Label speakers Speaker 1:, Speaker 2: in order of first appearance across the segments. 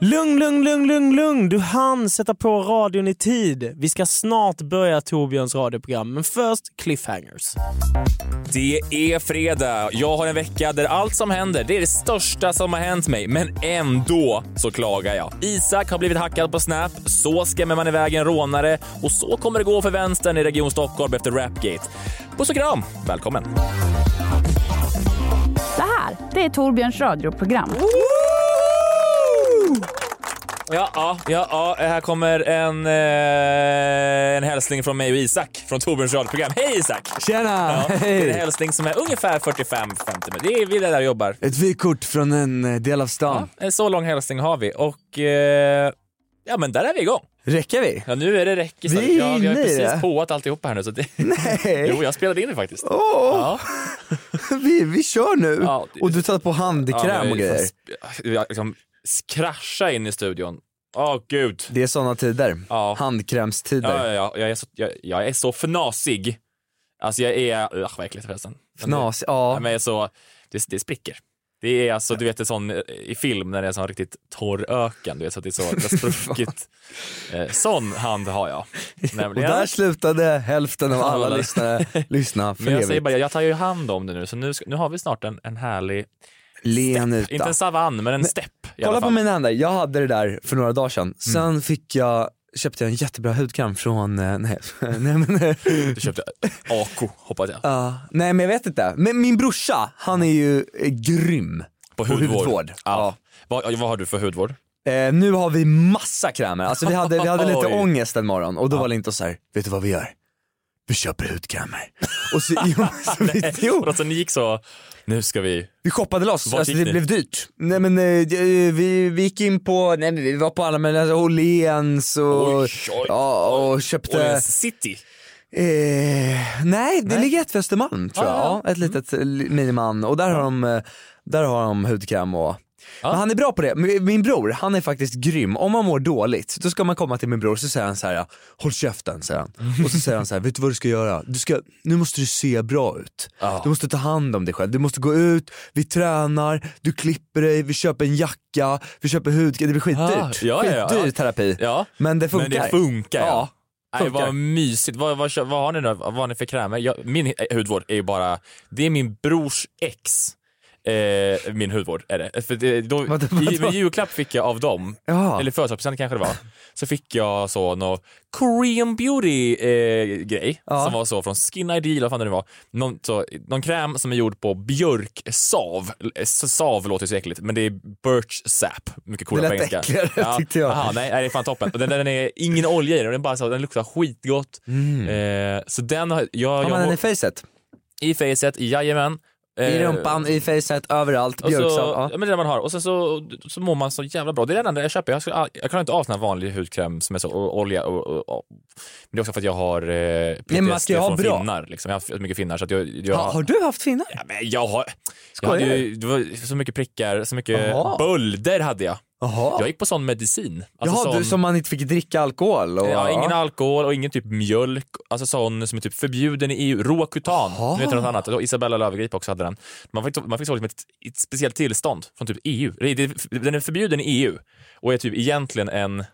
Speaker 1: Lugn, lugn, lugn, lugn, lugn. Du hann sätta på radion i tid. Vi ska snart börja Torbjörns radioprogram, men först cliffhangers.
Speaker 2: Det är fredag. Jag har en vecka där allt som händer, det är det största som har hänt mig. Men ändå så klagar jag. Isak har blivit hackad på Snap, så skrämmer man iväg en rånare och så kommer det gå för vänstern i Region Stockholm efter Rapgate. Puss och kram! Välkommen!
Speaker 3: Det här, det är Torbjörns radioprogram.
Speaker 2: Ja, ja, ja, ja. här kommer en, eh, en hälsning från mig och Isak från Torbjörns radioprogram. Hej Isak!
Speaker 4: Tjena!
Speaker 2: Ja, det är en
Speaker 4: Hej!
Speaker 2: hälsning som är ungefär 45-50 men Det är vi där och jobbar.
Speaker 4: Ett vykort från en eh, del av stan.
Speaker 2: En så lång hälsning har vi och eh, ja men där är vi igång.
Speaker 4: Räcker vi?
Speaker 2: Ja nu är det räckis.
Speaker 4: Vi är
Speaker 2: ja, vi har
Speaker 4: inne i
Speaker 2: precis
Speaker 4: det.
Speaker 2: påat alltihopa här nu så det...
Speaker 4: Nej!
Speaker 2: Jo, jag spelade in det faktiskt.
Speaker 4: Åh,
Speaker 2: Ja,
Speaker 4: vi, vi kör nu!
Speaker 2: Ja, det-
Speaker 4: Och du tar på handkräm och grejer.
Speaker 2: Jag liksom krascha in i studion. Åh gud.
Speaker 4: Det är såna tider.
Speaker 2: Ja. Ja,
Speaker 4: Handkrämstider.
Speaker 2: ja, ja. Jag, är så, jag, jag är så fnasig. Alltså jag är, uh, vad äckligt förresten. Men det-
Speaker 4: Fnas,
Speaker 2: Ja.
Speaker 4: ja.
Speaker 2: Men jag är så, det, det spricker. Det är alltså, du vet en sån eh, i film när det är en sån riktigt torr öken, du vet så att det är så, det har spruckit. Eh, sån hand har jag.
Speaker 4: Och där slutade hälften av alla
Speaker 2: Alla.
Speaker 4: lyssnare lyssna för
Speaker 2: men jag säger
Speaker 4: evigt.
Speaker 2: bara, jag tar ju hand om det nu, så nu, ska- nu har vi snart en, en härlig,
Speaker 4: Len
Speaker 2: inte
Speaker 4: yta.
Speaker 2: en savann, men en stepp i alla
Speaker 4: Kolla på
Speaker 2: fall. Mm.
Speaker 4: mina händer, jag hade det där för några dagar sedan. Sen fick jag, köpte jag en jättebra hudkräm från, eh, nej, nej men eh,
Speaker 2: Du köpte AK, hoppas jag.
Speaker 4: Ja, nej men jag vet inte. Men min brorsa, han är ju eh, grym
Speaker 2: På hudvård.
Speaker 4: Ja.
Speaker 2: Ja. Vad, vad har du för hudvård?
Speaker 4: Eh, nu har vi massa krämer. Alltså vi hade, vi hade lite
Speaker 2: Oj.
Speaker 4: ångest en morgon och då var Linton så här, vet du vad vi gör? Vi köper hudkrämer. Och så, jo, så vi,
Speaker 2: Och
Speaker 4: jo, Eh,
Speaker 2: alltså, ni gick så, nu ska vi...
Speaker 4: vi shoppade loss,
Speaker 2: Vart
Speaker 4: alltså,
Speaker 2: gick
Speaker 4: det
Speaker 2: ni?
Speaker 4: blev dyrt. Nej men eh, det- vi, vi gick in på, nej men vi var på alla möjliga, alltså, Åhléns och,
Speaker 2: Oj, oj.
Speaker 4: ja, och
Speaker 2: Och det
Speaker 4: köpte
Speaker 2: är city.
Speaker 4: Eh, nej, det ligger ett på Östermalm tror
Speaker 2: Ah,
Speaker 4: jag. Ja, ett litet eh, li- miniman och där har de, eh, där har de hudkräm och Men han är bra på det. Min- Min bror, han är faktiskt grym. Om man mår dåligt, då ska man komma till min bror så säger han så här: håll käften säger han. Och så säger han så här, vet du vad du ska göra? Du ska, nu måste du se bra ut. Du måste ta hand om dig själv. Du måste gå ut, vi tränar, du klipper dig, vi köper en jacka, vi köper hudkräm. Det blir skitdyrt.
Speaker 2: Ah, ja, ja, ja.
Speaker 4: Skitdyr terapi.
Speaker 2: Ja.
Speaker 4: Men det funkar.
Speaker 2: Men det funkar
Speaker 4: Ja.
Speaker 2: Nej,
Speaker 4: Funkar.
Speaker 2: vad mysigt. Vad, vad, vad har ni då? Vad har ni för krämer? Jag, min eh, hudvård är ju bara, det är min brors ex. Eh, min hudvård är det. För det då,
Speaker 4: Vadå,
Speaker 2: I,
Speaker 4: vadå?
Speaker 2: med julklapp fick jag av dem,
Speaker 4: Ja.
Speaker 2: eller födelsedagspresent kanske det var, så fick jag så någon Korean beauty eh, grej
Speaker 4: Ja.
Speaker 2: som var så från Skin ID eller vad fan det nu var. Någon, så, någon kräm som är gjord på björksav. Eh, Sav låter ju så äckligt men det är birch sap. Mycket
Speaker 4: Det
Speaker 2: coolare på
Speaker 4: lät
Speaker 2: engelska.
Speaker 4: äckligare, tyckte jag.
Speaker 2: aha, nej, nej, det är fan toppen. Och den, den är ingen olja i den, den, är bara så, den luktar skitgott. Eh, så den har jag...
Speaker 4: Har man
Speaker 2: jag
Speaker 4: Mm. den i facet?
Speaker 2: I facet, jajamän.
Speaker 4: I
Speaker 2: Eh,
Speaker 4: rumpan, i facet, överallt,
Speaker 2: och så,
Speaker 4: björksav.
Speaker 2: ja. men det är det man har. Och sen så, så mår man så jävla bra. Det är det enda jag köper. Jag, skulle all- jag klarar inte av sån här vanlig hudkräm som är så och olja och, och, och. Men det är också för att jag har eh, PTSD
Speaker 4: men man ska ju ha
Speaker 2: från
Speaker 4: bra.
Speaker 2: finnar. Liksom. Jag har haft mycket finnar så att jag, jag
Speaker 4: Ha, har du haft finnar?
Speaker 2: Ja, men jag har... Jag
Speaker 4: Skojar
Speaker 2: hade ju, det var så mycket prickar, så mycket
Speaker 4: Jaha.
Speaker 2: bölder hade jag.
Speaker 4: Jaha,
Speaker 2: Jag gick på sån medicin. Alltså
Speaker 4: Jaha
Speaker 2: sån,
Speaker 4: du som man inte fick dricka alkohol? Och,
Speaker 2: Ja, ingen alkohol och ingen typ mjölk, alltså sån som är typ förbjuden i EU. Roakutan, nu heter det något annat. Och Isabella Löwengrip också hade den. Man fick, man fick så liksom ett, ett speciellt tillstånd från typ EU. Det- det- Den är förbjuden i EU och är typ egentligen en, jag vet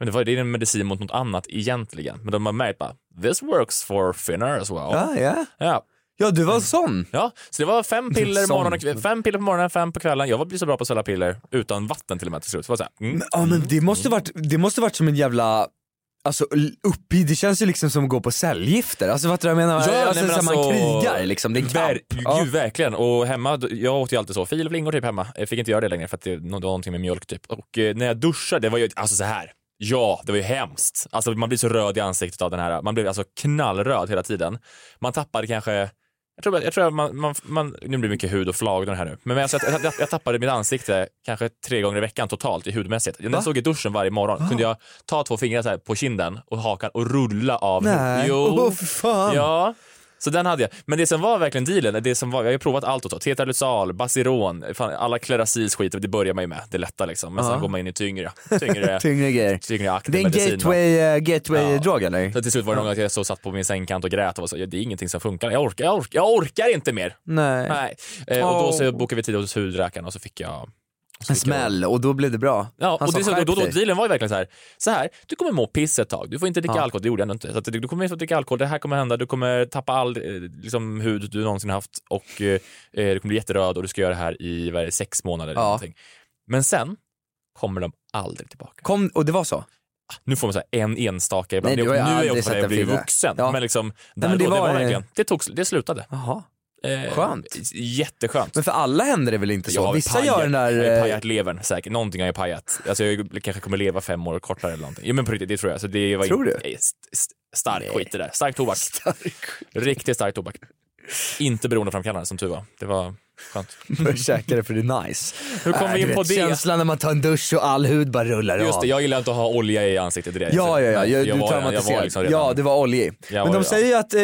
Speaker 2: inte vad, det är en medicin mot något annat egentligen. Men de har märkt bara, this works for finnar as well.
Speaker 4: ja, ja.
Speaker 2: Ja.
Speaker 4: ja, du var sån.
Speaker 2: Ja, så det var fem piller,
Speaker 4: Sån.
Speaker 2: morgon och, kv- fem piller på morgonen, fem på kvällen. Jag var blev så bra på att svälja piller utan vatten till och med till slut. Så var det så här, mm.
Speaker 4: Ja men det måste varit, det måste varit som en jävla Alltså upp, det känns ju liksom som att gå på cellgifter, alltså fattar du vad jag menar?
Speaker 2: Ja,
Speaker 4: alltså,
Speaker 2: nej, men
Speaker 4: så här,
Speaker 2: alltså-
Speaker 4: man krigar liksom, det är en kamp.
Speaker 2: Ver-
Speaker 4: Ja.
Speaker 2: Gud, verkligen. Och hemma, jag åt ju alltid så, fil och flingor typ hemma. Jag fick inte göra det längre för att det det var någonting med mjölk typ. Och eh, när jag duschade, det var ju, alltså så här. Ja, det var ju hemskt. Alltså man blir så röd i ansiktet av den här. Man blev alltså knallröd hela tiden. Man tappade kanske, jag Jag tror, jag tror att man, man, man, nu blir det mycket hud och flagnor här nu, men alltså, jag, jag, jag tappade mitt ansikte kanske tre gånger i veckan totalt i hudmässigt. När jag stod i duschen varje morgon
Speaker 4: Ah.
Speaker 2: kunde jag ta två fingrar så här på kinden och hakan och rulla av
Speaker 4: Nej.
Speaker 2: Jo.
Speaker 4: Åh, för fan.
Speaker 2: Ja. Så den hade jag. Men det som var verkligen dealen, det som var, jag har ju provat allt åt Tetralysal, Basiron, fan, alla Claracils skit, det börjar man ju med, det lätta liksom. Men sen går man in i tyngre, tyngre,
Speaker 4: Tyngre grejer.
Speaker 2: tyngre akter,
Speaker 4: Det är en
Speaker 2: medicin, va?
Speaker 4: gateway, eh, gateway-drog eller?
Speaker 2: Så till slut var det någon gång att jag så satt på min sängkant och grät och var så, "Ja, det är ingenting som funkar, jag orkar, jag orkar, jag orkar inte mer.
Speaker 4: Nej.
Speaker 2: Nej. Eh, och då så
Speaker 4: Oh.
Speaker 2: bokade vi tid hos hudläkaren och så fick jag så
Speaker 4: En
Speaker 2: fick jag-
Speaker 4: smäll och då blev det bra.
Speaker 2: Ja,
Speaker 4: Han
Speaker 2: och
Speaker 4: sa,
Speaker 2: det, är så, då,
Speaker 4: "Skärp
Speaker 2: då, då,
Speaker 4: dig."
Speaker 2: dealen var ju verkligen så här, så här, du kommer må piss ett tag, du får inte dricka alkohol, det gjorde jag ändå inte. Så att, du kommer inte att dricka alkohol, det här kommer hända, du kommer tappa all eh, liksom, hud du någonsin haft och eh, eh, du kommer bli jätteröd och du ska göra det här i vad är det, sex månader eller
Speaker 4: Ja.
Speaker 2: någonting. Men sen kommer de aldrig tillbaka.
Speaker 4: Kom, och det var så?
Speaker 2: Nu får man så här en enstaka ibland,
Speaker 4: Nej,
Speaker 2: nu
Speaker 4: du har
Speaker 2: är
Speaker 4: ju
Speaker 2: jag
Speaker 4: aldrig
Speaker 2: också
Speaker 4: sett
Speaker 2: jag
Speaker 4: en
Speaker 2: blir
Speaker 4: fyra.
Speaker 2: vuxen,
Speaker 4: Ja.
Speaker 2: men liksom, där
Speaker 4: Nej, men
Speaker 2: det, då,
Speaker 4: det
Speaker 2: det
Speaker 4: var
Speaker 2: var
Speaker 4: en-
Speaker 2: verkligen, det, tog, det slutade.
Speaker 4: Jaha.
Speaker 2: Eh,
Speaker 4: Skönt.
Speaker 2: Jätteskönt.
Speaker 4: Men för alla händer det väl inte
Speaker 2: Jag
Speaker 4: så?
Speaker 2: har ju
Speaker 4: Vissa
Speaker 2: pajat-
Speaker 4: gör den
Speaker 2: Jag har ju
Speaker 4: där... eh,
Speaker 2: pajat levern säkert, någonting har jag pajat. Alltså jag kanske kommer leva fem år kortare eller någonting. Ja men på riktigt, det tror jag. Så det var
Speaker 4: Tror du?
Speaker 2: eh, st- st- stark skit det där. Stark tobak. Riktigt stark tobak. Inte beroendeframkallande som tur var. Det var skönt.
Speaker 4: Börja käka det för det är nice.
Speaker 2: Hur kom
Speaker 4: Äh,
Speaker 2: vi in
Speaker 4: du
Speaker 2: på
Speaker 4: vet,
Speaker 2: det?
Speaker 4: Känslan när man tar en dusch och all hud bara rullar
Speaker 2: Just
Speaker 4: av.
Speaker 2: det, jag gillar inte att ha olja i ansiktet. Det är det.
Speaker 4: Ja, ja, ja,
Speaker 2: Nej,
Speaker 4: jag, du
Speaker 2: var- typ. Jag var
Speaker 4: traumatiserad.
Speaker 2: liksom
Speaker 4: ja,
Speaker 2: redan...
Speaker 4: det var oljig.
Speaker 2: Jag
Speaker 4: Men
Speaker 2: var
Speaker 4: de
Speaker 2: det,
Speaker 4: säger ju att, eh,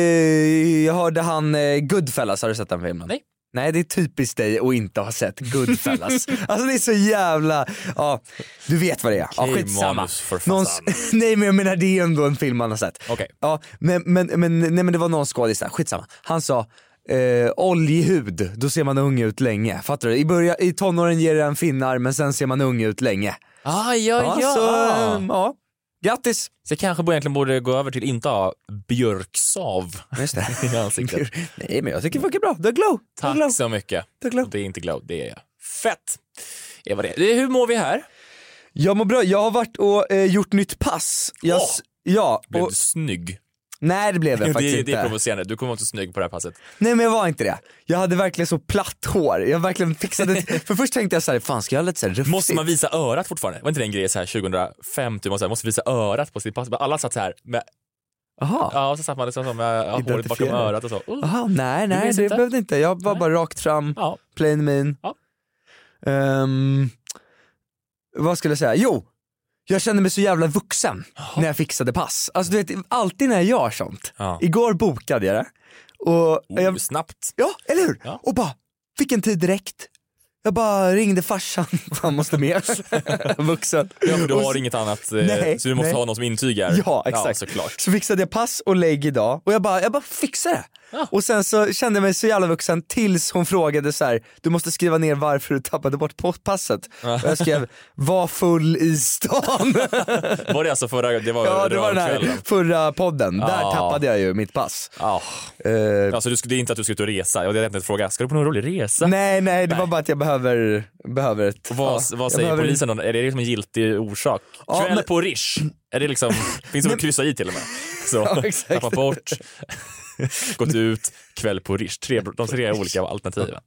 Speaker 4: eh, jag hörde han eh, Goodfellas, har du sett den filmen?
Speaker 2: Nej.
Speaker 4: Nej det är typiskt dig att inte ha sett Goodfellas. alltså det är så jävla, ja du vet vad det är. Ja,
Speaker 2: Okej,
Speaker 4: skitsamma.
Speaker 2: manus för fan.
Speaker 4: Någon, s- nej men jag menar det är ändå en film man har sett.
Speaker 2: Okej.
Speaker 4: Ja, men, men, men, nej, men det var någon skådis där, skitsamma. Han sa Eh, oljig hud, då ser man ung ut länge. Fattar du? I, början, I tonåren ger det en finnar men sen ser man ung ut länge.
Speaker 2: Ah, ja, ja.
Speaker 4: Så,
Speaker 2: Så,
Speaker 4: ehm, ja. Grattis!
Speaker 2: jag kanske borde- egentligen borde gå över till inte ha björksav
Speaker 4: Just det.
Speaker 2: i ansiktet.
Speaker 4: Nej men jag tycker det funkar bra, du har glow. Du har glow.
Speaker 2: Tack så mycket.
Speaker 4: Du har glow.
Speaker 2: Det är inte glow, det är jag. Fett! Det var det. Det är- Hur mår vi här?
Speaker 4: Jag mår bra, jag har varit och eh, gjort nytt pass. Jag,
Speaker 2: Åh!
Speaker 4: s- Ja,
Speaker 2: Blev
Speaker 4: och,
Speaker 2: du snygg?
Speaker 4: nej det blev jag faktiskt
Speaker 2: Det, det är
Speaker 4: inte.
Speaker 2: provocerande, du kommer inte snygg på det här passet.
Speaker 4: Nej men jag var inte det. Jag hade verkligen så platt hår, jag verkligen fixade, för först tänkte jag såhär, fan ska jag ha lite såhär rufsigt?
Speaker 2: Måste man visa örat fortfarande? Var inte det en grej så här 2005, typ, man så här, måste visa örat på sitt pass? Men Alla satt så här med,
Speaker 4: Aha.
Speaker 2: ja, och så satt man liksom så med ja, håret bakom
Speaker 4: Identifiera.
Speaker 2: örat och så. Uh.
Speaker 4: Aha, nej
Speaker 2: Du
Speaker 4: nej
Speaker 2: minns
Speaker 4: det
Speaker 2: inte?
Speaker 4: behövde inte, jag var
Speaker 2: Nej.
Speaker 4: bara rakt fram,
Speaker 2: Ja.
Speaker 4: plain min.
Speaker 2: Ja.
Speaker 4: Ehm, vad skulle jag säga, jo! Jag kände mig så jävla vuxen när jag fixade pass. Alltså du vet, alltid när jag gör sånt.
Speaker 2: Ja.
Speaker 4: Igår bokade jag det. Och
Speaker 2: Oh,
Speaker 4: jag,
Speaker 2: Snabbt.
Speaker 4: Ja, eller hur?
Speaker 2: Ja.
Speaker 4: Och bara, fick en tid direkt. Jag bara ringde farsan, han måste med. Vuxen.
Speaker 2: Ja, för du
Speaker 4: Och
Speaker 2: har
Speaker 4: så-
Speaker 2: inget annat, eh,
Speaker 4: Nej,
Speaker 2: så du måste
Speaker 4: nej.
Speaker 2: ha någon som intygar.
Speaker 4: Ja, exakt.
Speaker 2: Ja, såklart.
Speaker 4: Så fixade jag pass och lägg idag och jag bara, jag bara fixar det.
Speaker 2: Ja.
Speaker 4: Och sen så kände jag mig så jävla vuxen tills hon frågade så här: du måste skriva ner varför du tappade bort på- passet. Och jag skrev, var full i stan.
Speaker 2: Var det alltså förra, det var
Speaker 4: ja det var den här
Speaker 2: rörkvällen?
Speaker 4: förra podden, där
Speaker 2: Ja.
Speaker 4: tappade jag ju mitt pass.
Speaker 2: Ja.
Speaker 4: Eh,
Speaker 2: Ah. Alltså du, sk- det är inte att du ska ut och resa, jag hade tänkt fråga, ska du på någon rolig resa?
Speaker 4: nej nej, det var bara att jag behöver, behöver ett...
Speaker 2: Och Vad,
Speaker 4: ja, jag
Speaker 2: vad säger
Speaker 4: behöver-
Speaker 2: polisen då? Är det liksom en giltig orsak?
Speaker 4: Ja,
Speaker 2: Kväll
Speaker 4: men-
Speaker 2: på Rish? Är det liksom, finns det att kryssa i till och med? Så,
Speaker 4: Ja, exakt.
Speaker 2: tappa bort, gått ut, kväll på Rish. Tre, de tre olika alternativen.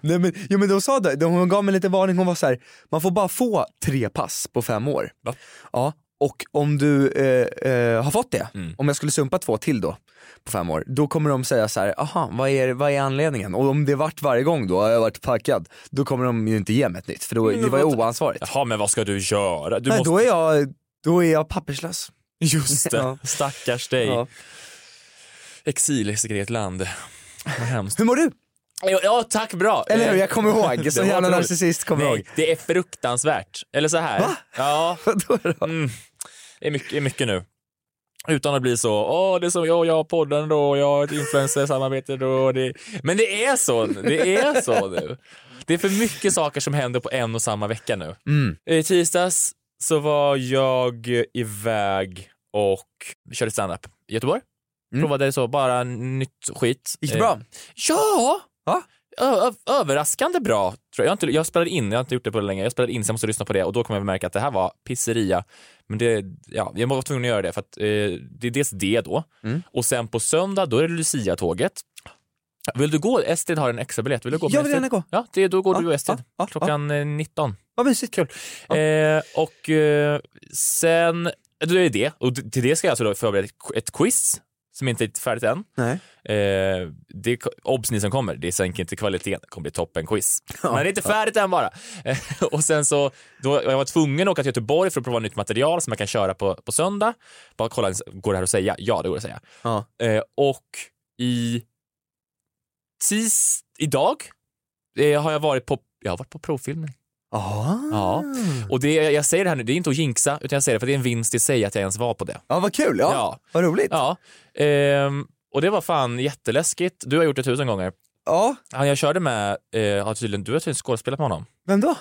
Speaker 4: Nej men, jo, men de sa det, de, hon gav mig lite varning, hon var så här, man får bara få tre pass på fem år.
Speaker 2: Va?
Speaker 4: Ja, och om du eh, eh, har fått det,
Speaker 2: Mm.
Speaker 4: om jag skulle sumpa två till då på fem år, då kommer de säga så här, aha vad är, vad är anledningen? Och om det vart varje gång då, har jag varit packad, då kommer de ju inte ge mig ett nytt för då, det var ju oansvarigt.
Speaker 2: Jaha, men vad ska du göra? Mm, Du
Speaker 4: Nej,
Speaker 2: måste...
Speaker 4: då, är jag, då är jag papperslös.
Speaker 2: Just det,
Speaker 4: Ja.
Speaker 2: stackars dig.
Speaker 4: Ja.
Speaker 2: Exil i sitt eget land. Vad hemskt.
Speaker 4: Hur mår du?
Speaker 2: Ja, Ja, tack bra.
Speaker 4: Eller hur,
Speaker 2: Eh,
Speaker 4: jag kommer ihåg,
Speaker 2: det
Speaker 4: som
Speaker 2: var
Speaker 4: jävla
Speaker 2: otroligt.
Speaker 4: narcissist kommer jag
Speaker 2: Nej,
Speaker 4: ihåg.
Speaker 2: det är fruktansvärt. Eller så här.
Speaker 4: Va?
Speaker 2: Ja,
Speaker 4: Vadå då?
Speaker 2: Mm. Det är mycket, det är mycket nu. Utan att bli så, åh, det är som jag, jag har podden då, jag har ett influencersamarbete då. Det... Men det är så, nu. det är så nu. Det är för mycket saker som händer på en och samma vecka nu.
Speaker 4: Mm.
Speaker 2: I tisdags så var jag iväg och körde standup i Göteborg.
Speaker 4: Mm.
Speaker 2: Provade så, bara nytt skit.
Speaker 4: Gick det bra?
Speaker 2: Eh, Ja!
Speaker 4: Ja.
Speaker 2: Ö- ö- överraskande bra. Tror jag. Jag, har inte, jag spelade in, jag har inte gjort det på länge. Jag spelade in så jag måste lyssna på det och då kommer jag märka att det här var pisseria. Men det, ja, jag var tvungen att göra det för att eh, det är dels det då
Speaker 4: Mm.
Speaker 2: och sen på söndag då är det Lucia-tåget. Vill du gå? Estrid har en extra biljett. Vill du gå
Speaker 4: Jag
Speaker 2: med
Speaker 4: vill
Speaker 2: Estrid?
Speaker 4: gärna gå.
Speaker 2: Ja, det, då går
Speaker 4: Ja,
Speaker 2: du och Estrid.
Speaker 4: ja, ja, ja.
Speaker 2: Klockan eh, 19.
Speaker 4: Vad mysigt. Kul.
Speaker 2: Eh, och eh, sen, då är det det. Och d- till det ska jag alltså då förbereda ett qu- ett quiz som inte är färdigt än.
Speaker 4: Nej.
Speaker 2: Eh, det är, obs ni som kommer, det sänker inte kvaliteten. Det kommer bli toppenquiz. Men det är inte färdigt än bara. Eh, och sen så, då, jag var tvungen att åka till Göteborg för att prova nytt material som jag kan köra på, på söndag. Bara kolla, går det här att säga? Ja, det går att säga.
Speaker 4: Ja.
Speaker 2: Eh, och i tis, idag eh, har jag varit på, jag har varit på provfilmning.
Speaker 4: Ah.
Speaker 2: Ja. Och det, jag säger det här nu, det är inte att jinxa, utan jag säger det för det är en vinst i sig att jag ens var på det.
Speaker 4: Ja, vad kul. Ja.
Speaker 2: Ja.
Speaker 4: Vad roligt. Ja.
Speaker 2: Ja. Ehm, och det var fan jätteläskigt. Du har gjort det tusen gånger. Han jag körde med, eh, har tydligen, du har tydligen skådespelat med honom.
Speaker 4: Vem då?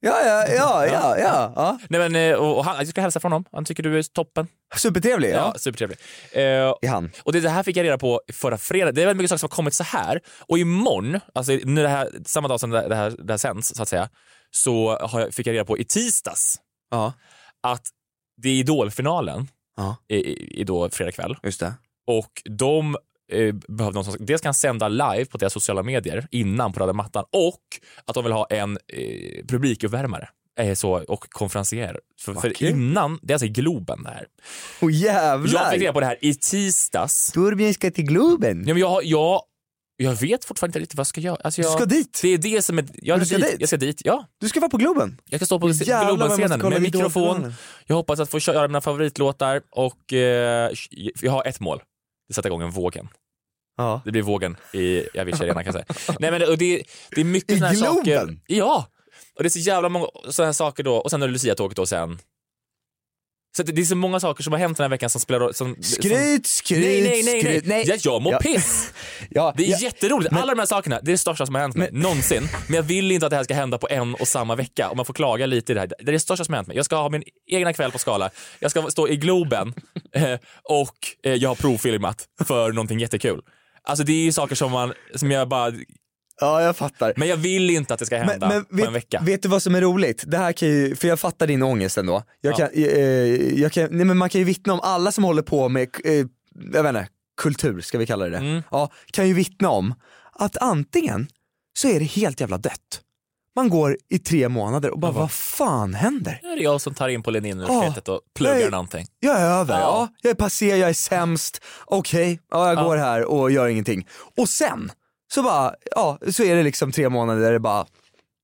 Speaker 4: Ja, ja, ja, ja, ja. ja.
Speaker 2: Nej men, eh, och, och han, jag ska hälsa från honom. Han tycker du är toppen.
Speaker 4: Supertrevlig. Ja.
Speaker 2: Ja, supertrevlig. Eh,
Speaker 4: Är han.
Speaker 2: och det, det här fick jag reda på förra fredagen. Det är väldigt mycket saker som har kommit så här. Och imorgon, alltså nu det här, samma dag som det det här, det här sänds så att säga, så har jag, fick jag reda på i tisdags
Speaker 4: Ja,
Speaker 2: att det är Idolfinalen
Speaker 4: Ja.
Speaker 2: i, i, i då fredag kväll.
Speaker 4: just det.
Speaker 2: och de eh, behövde någon som, dels kan sända live på deras sociala medier innan på röda mattan och att de vill ha en eh, publikuppvärmare eh, så, och konferencier. För,
Speaker 4: Vad
Speaker 2: för
Speaker 4: kul.
Speaker 2: innan, det är alltså i Globen det här. Jag
Speaker 4: Åh jävlar!
Speaker 2: fick reda på det här i tisdags.
Speaker 4: Torbjörn ska till Globen.
Speaker 2: Ja, men jag, har- jag, jag vet fortfarande inte riktigt vad jag ska göra. Alltså, jag,
Speaker 4: Du ska dit!
Speaker 2: Det är det som är... Jag,
Speaker 4: Du ska dit?
Speaker 2: jag ska dit, ja.
Speaker 4: Du ska vara på Globen.
Speaker 2: Jag ska stå på
Speaker 4: Jävlar, vad jag måste
Speaker 2: Globenscenen
Speaker 4: kolla
Speaker 2: med mikrofon.
Speaker 4: Idolfinalen.
Speaker 2: Jag hoppas att få köra mina favoritlåtar och eh, jag har ett mål. Det är sätta igång en vågen.
Speaker 4: Ja.
Speaker 2: Det blir vågen i Avicii Arena kan jag säga. Nej, men det, och det, det är mycket
Speaker 4: I
Speaker 2: såna här saker.
Speaker 4: Globen?
Speaker 2: Ja! Och det är så jävla många såna här saker då. Och sen har du Lucia-tåget då sen. Så det, det är så många saker som har hänt den här veckan som spelar roll. Som, som,
Speaker 4: Skryt, skryt,
Speaker 2: nej, nej, nej, nej.
Speaker 4: skryt.
Speaker 2: Ja, jag mår
Speaker 4: Ja.
Speaker 2: piss.
Speaker 4: Ja,
Speaker 2: Det är
Speaker 4: ja.
Speaker 2: jätteroligt. Alla de här sakerna, det är det största som har hänt mig någonsin. Men jag vill inte att det här ska hända på en och samma vecka. Om man får klaga lite i det här. Det är det största som har hänt mig. Jag ska ha min egna kväll på Skala. Jag ska stå i Globen eh, och eh, jag har provfilmat för någonting jättekul. Alltså det är ju saker som man, som jag bara,
Speaker 4: ja, jag fattar.
Speaker 2: men jag vill inte att det ska hända på
Speaker 4: vet,
Speaker 2: en vecka.
Speaker 4: vet du vad som är roligt? Det här kan ju, för jag fattar din ångest ändå. Jag
Speaker 2: Ja.
Speaker 4: kan, eh, jag kan, nej men man kan ju vittna om alla som håller på med, eh, jag vet inte, kultur ska vi kalla det det.
Speaker 2: Mm.
Speaker 4: Ja, kan ju vittna om att antingen så är det helt jävla dött. Man går i tre månader och bara vad fan händer?
Speaker 2: Nu är det jag som tar in på Linnéuniversitetet och pluggar
Speaker 4: nej.
Speaker 2: någonting.
Speaker 4: Jag är över,
Speaker 2: Ja.
Speaker 4: ja. jag är passé, jag är sämst, okej, ja, jag går här och gör ingenting. Och sen så bara, ja, så är det liksom tre månader där det bara,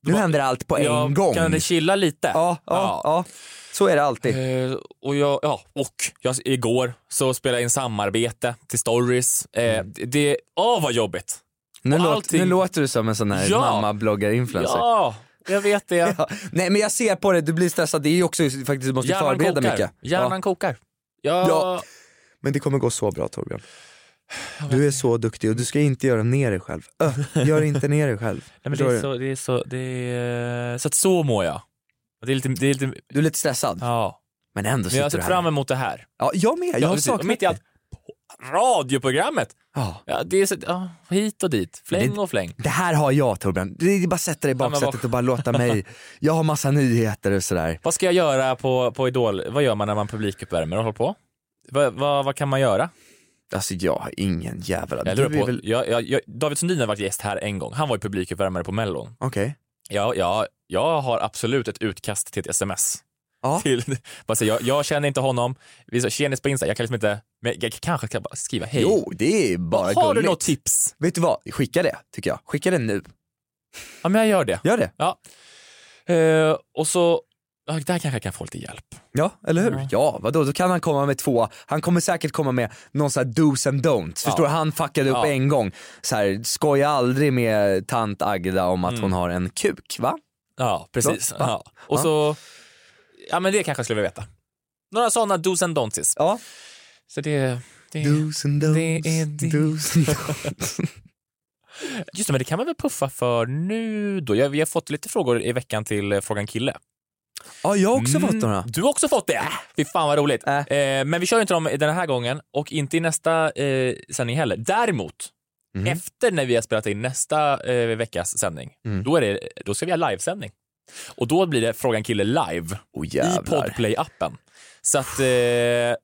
Speaker 4: nu händer allt på en
Speaker 2: Jag
Speaker 4: gång.
Speaker 2: kan chilla lite.
Speaker 4: Ja, ja, ja. Så är det alltid.
Speaker 2: Eh, och jag, ja, och jag, igår så spelade jag in samarbete till stories. Eh,
Speaker 4: Mm.
Speaker 2: det- Det, åh vad jobbigt.
Speaker 4: Nu,
Speaker 2: och
Speaker 4: låt,
Speaker 2: allting-
Speaker 4: nu låter du som en sån här
Speaker 2: Ja.
Speaker 4: mamma-bloggar-influencer. Ja.
Speaker 2: Ja, jag vet det.
Speaker 4: Nej men jag ser på dig, du blir stressad. Det är ju också faktiskt, du måste
Speaker 2: Hjärnan
Speaker 4: förbereda
Speaker 2: kokar.
Speaker 4: mycket.
Speaker 2: Hjärnan
Speaker 4: Ja.
Speaker 2: kokar. Jag,
Speaker 4: Ja. Men det kommer gå så bra Torbjörn. Du är så duktig och du ska inte göra ner dig själv. Ö, gör inte ner dig själv.
Speaker 2: nej, men det
Speaker 4: Förstår
Speaker 2: är
Speaker 4: du?
Speaker 2: så, det är så, det är, så att så mår jag. Det är lite, det är lite,
Speaker 4: Du är lite stressad,
Speaker 2: ja.
Speaker 4: men ändå
Speaker 2: Men
Speaker 4: sitter
Speaker 2: jag ser
Speaker 4: du här.
Speaker 2: fram emot det här.
Speaker 4: Ja, jag med, jag
Speaker 2: Ja,
Speaker 4: har
Speaker 2: precis. Och
Speaker 4: saknat
Speaker 2: mitt i allt, på radioprogrammet.
Speaker 4: Ja.
Speaker 2: Ja, det är så, ja, hit och dit, fläng och fläng.
Speaker 4: Det här har jag Torbjörn, det är bara att sätta dig i
Speaker 2: men vad-
Speaker 4: baksätet och bara låta mig. Jag har massa nyheter och sådär.
Speaker 2: Vad ska jag göra på, på Idol? Vad gör man när man publikuppvärmer och håller på? Vad, vad, vad kan man göra?
Speaker 4: Alltså jag har ingen jävla...
Speaker 2: Jag lurar på, jag, jag, jag, David Sundin har varit gäst här en gång. Han var ju publikuppvärmare på Mellon.
Speaker 4: Okej.
Speaker 2: Jag, jag, jag har absolut ett utkast till ett sms.
Speaker 4: Ja.
Speaker 2: Till, bara säga, jag, jag känner inte honom, vi är tjenis på Insta, jag kan liksom inte, men jag kanske kan bara skriva hej.
Speaker 4: Jo, det är bara
Speaker 2: har du
Speaker 4: gulligt.
Speaker 2: något tips?
Speaker 4: Vet du vad? Skicka det, tycker jag. Skicka det nu.
Speaker 2: Ja, men jag gör det.
Speaker 4: Gör det.
Speaker 2: Ja. Eh, och så, ja, där kanske jag kan få lite hjälp.
Speaker 4: Ja, eller hur? Ja, vadå? Då kan han komma med två. Han kommer säkert komma med någon sån här do's and don'ts. Förstår du? Han fuckade upp
Speaker 2: Ja.
Speaker 4: en gång. Så här, skoja aldrig med tant Agda om att
Speaker 2: Mm.
Speaker 4: hon har en kuk, va?
Speaker 2: Ja, precis.
Speaker 4: Ja.
Speaker 2: Ja. Och
Speaker 4: Ja.
Speaker 2: så, ja men det kanske jag skulle vilja veta. Några sådana dos and don'ts.
Speaker 4: Ja.
Speaker 2: Så det, det
Speaker 4: Do's and don'ts,
Speaker 2: Det är det.
Speaker 4: do's and don'ts.
Speaker 2: Just det, men det kan man väl puffa för nu då? Jag, vi har fått lite frågor i veckan till eh, Frågan Kille.
Speaker 4: ja, jag har också
Speaker 2: Mm,
Speaker 4: fått några.
Speaker 2: Du har också fått det! Äh, Fy fan vad roligt.
Speaker 4: Äh.
Speaker 2: Eh, men vi kör inte dem den här gången och inte i nästa eh, sändning heller. Däremot,
Speaker 4: Mm.
Speaker 2: efter när vi har spelat in nästa eh, veckas sändning,
Speaker 4: Mm.
Speaker 2: då, är det, då ska vi ha livesändning. Och då blir det Frågan Kille live
Speaker 4: Oh,
Speaker 2: i Podplay-appen. Så att eh,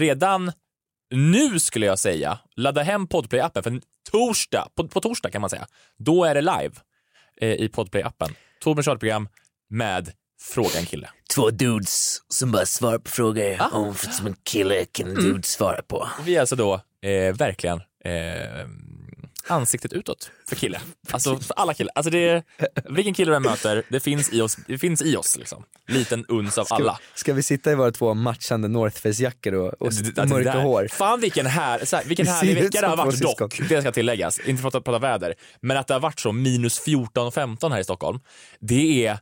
Speaker 2: redan nu skulle jag säga, ladda hem Podplay-appen för torsdag, på, på torsdag kan man säga, då är det live eh, i Podplay-appen. Torbjörns radioprogram med Frågan kille.
Speaker 5: två dudes som bara svarar på frågor om för som en kille kan en dude svara på.
Speaker 2: Vi är alltså då eh, verkligen eh, ansiktet utåt för kille. Alltså för alla killar. Alltså det är, vilken kille du än möter, det finns i oss. Det finns i oss liksom. Liten uns av alla.
Speaker 4: Ska vi sitta i våra två matchande North Face-jackor och, och
Speaker 2: Alltså, Det- det- det
Speaker 4: mörka
Speaker 2: där.
Speaker 4: hår?
Speaker 2: Fan vilken, här, så här, vilken
Speaker 4: Vi ser
Speaker 2: härlig
Speaker 4: ut
Speaker 2: vecka det har
Speaker 4: som två
Speaker 2: varit
Speaker 4: syskon.
Speaker 2: dock. Det ska tilläggas, inte för att prata väder. Men att det har varit så minus 14-15 här i Stockholm, det är,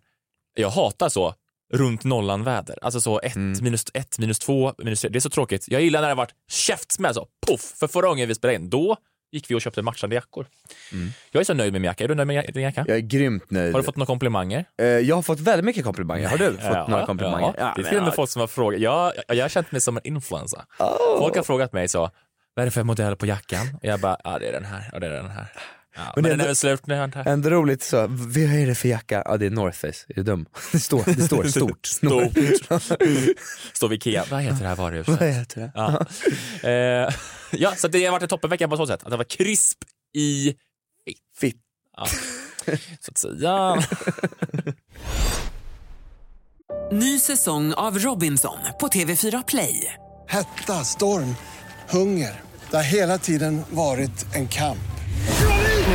Speaker 2: jag hatar så runt nollan väder. Alltså så 1,
Speaker 4: Mm.
Speaker 2: minus 1, minus 2, minus 3. Det är så tråkigt. Jag gillar när det har varit käftsmäll så, poff. För förra gången vi spelade in, då gick vi och köpte matchande jackor.
Speaker 4: Mm.
Speaker 2: Jag är så nöjd med min jacka. Är du nöjd med din jacka?
Speaker 4: Jag är grymt nöjd.
Speaker 2: Har du fått några komplimanger?
Speaker 4: Eh, jag har fått väldigt mycket komplimanger. Har du fått
Speaker 2: Ja,
Speaker 4: några komplimanger?
Speaker 2: Ja, det är till och med folk som har frågat. Jag, jag, jag har känt mig som en influencer.
Speaker 4: Oh.
Speaker 2: Folk har frågat mig så, vad är det för modell på jackan? Och jag bara, ja det är den här och det är den här. Ja, men
Speaker 4: det
Speaker 2: den
Speaker 4: är
Speaker 2: är
Speaker 4: ändå-
Speaker 2: väl slut nu antar jag.
Speaker 4: Ändå roligt så, vad är det för jacka? Ja det är North Face, är du dum? Det står, det står stort.
Speaker 2: Stort. Står vid Ikea. Vad heter det här varuhuset?
Speaker 4: Vad heter det?
Speaker 2: Ja. Eh, ja, så det har varit en toppenvecka på så sätt. Att det var krisp i,
Speaker 4: Fitt.
Speaker 2: så att säga.
Speaker 6: Ny säsong av Robinson på TV4 Play.
Speaker 7: Hetta, storm, hunger. Det har hela tiden varit en kamp.
Speaker 6: Nu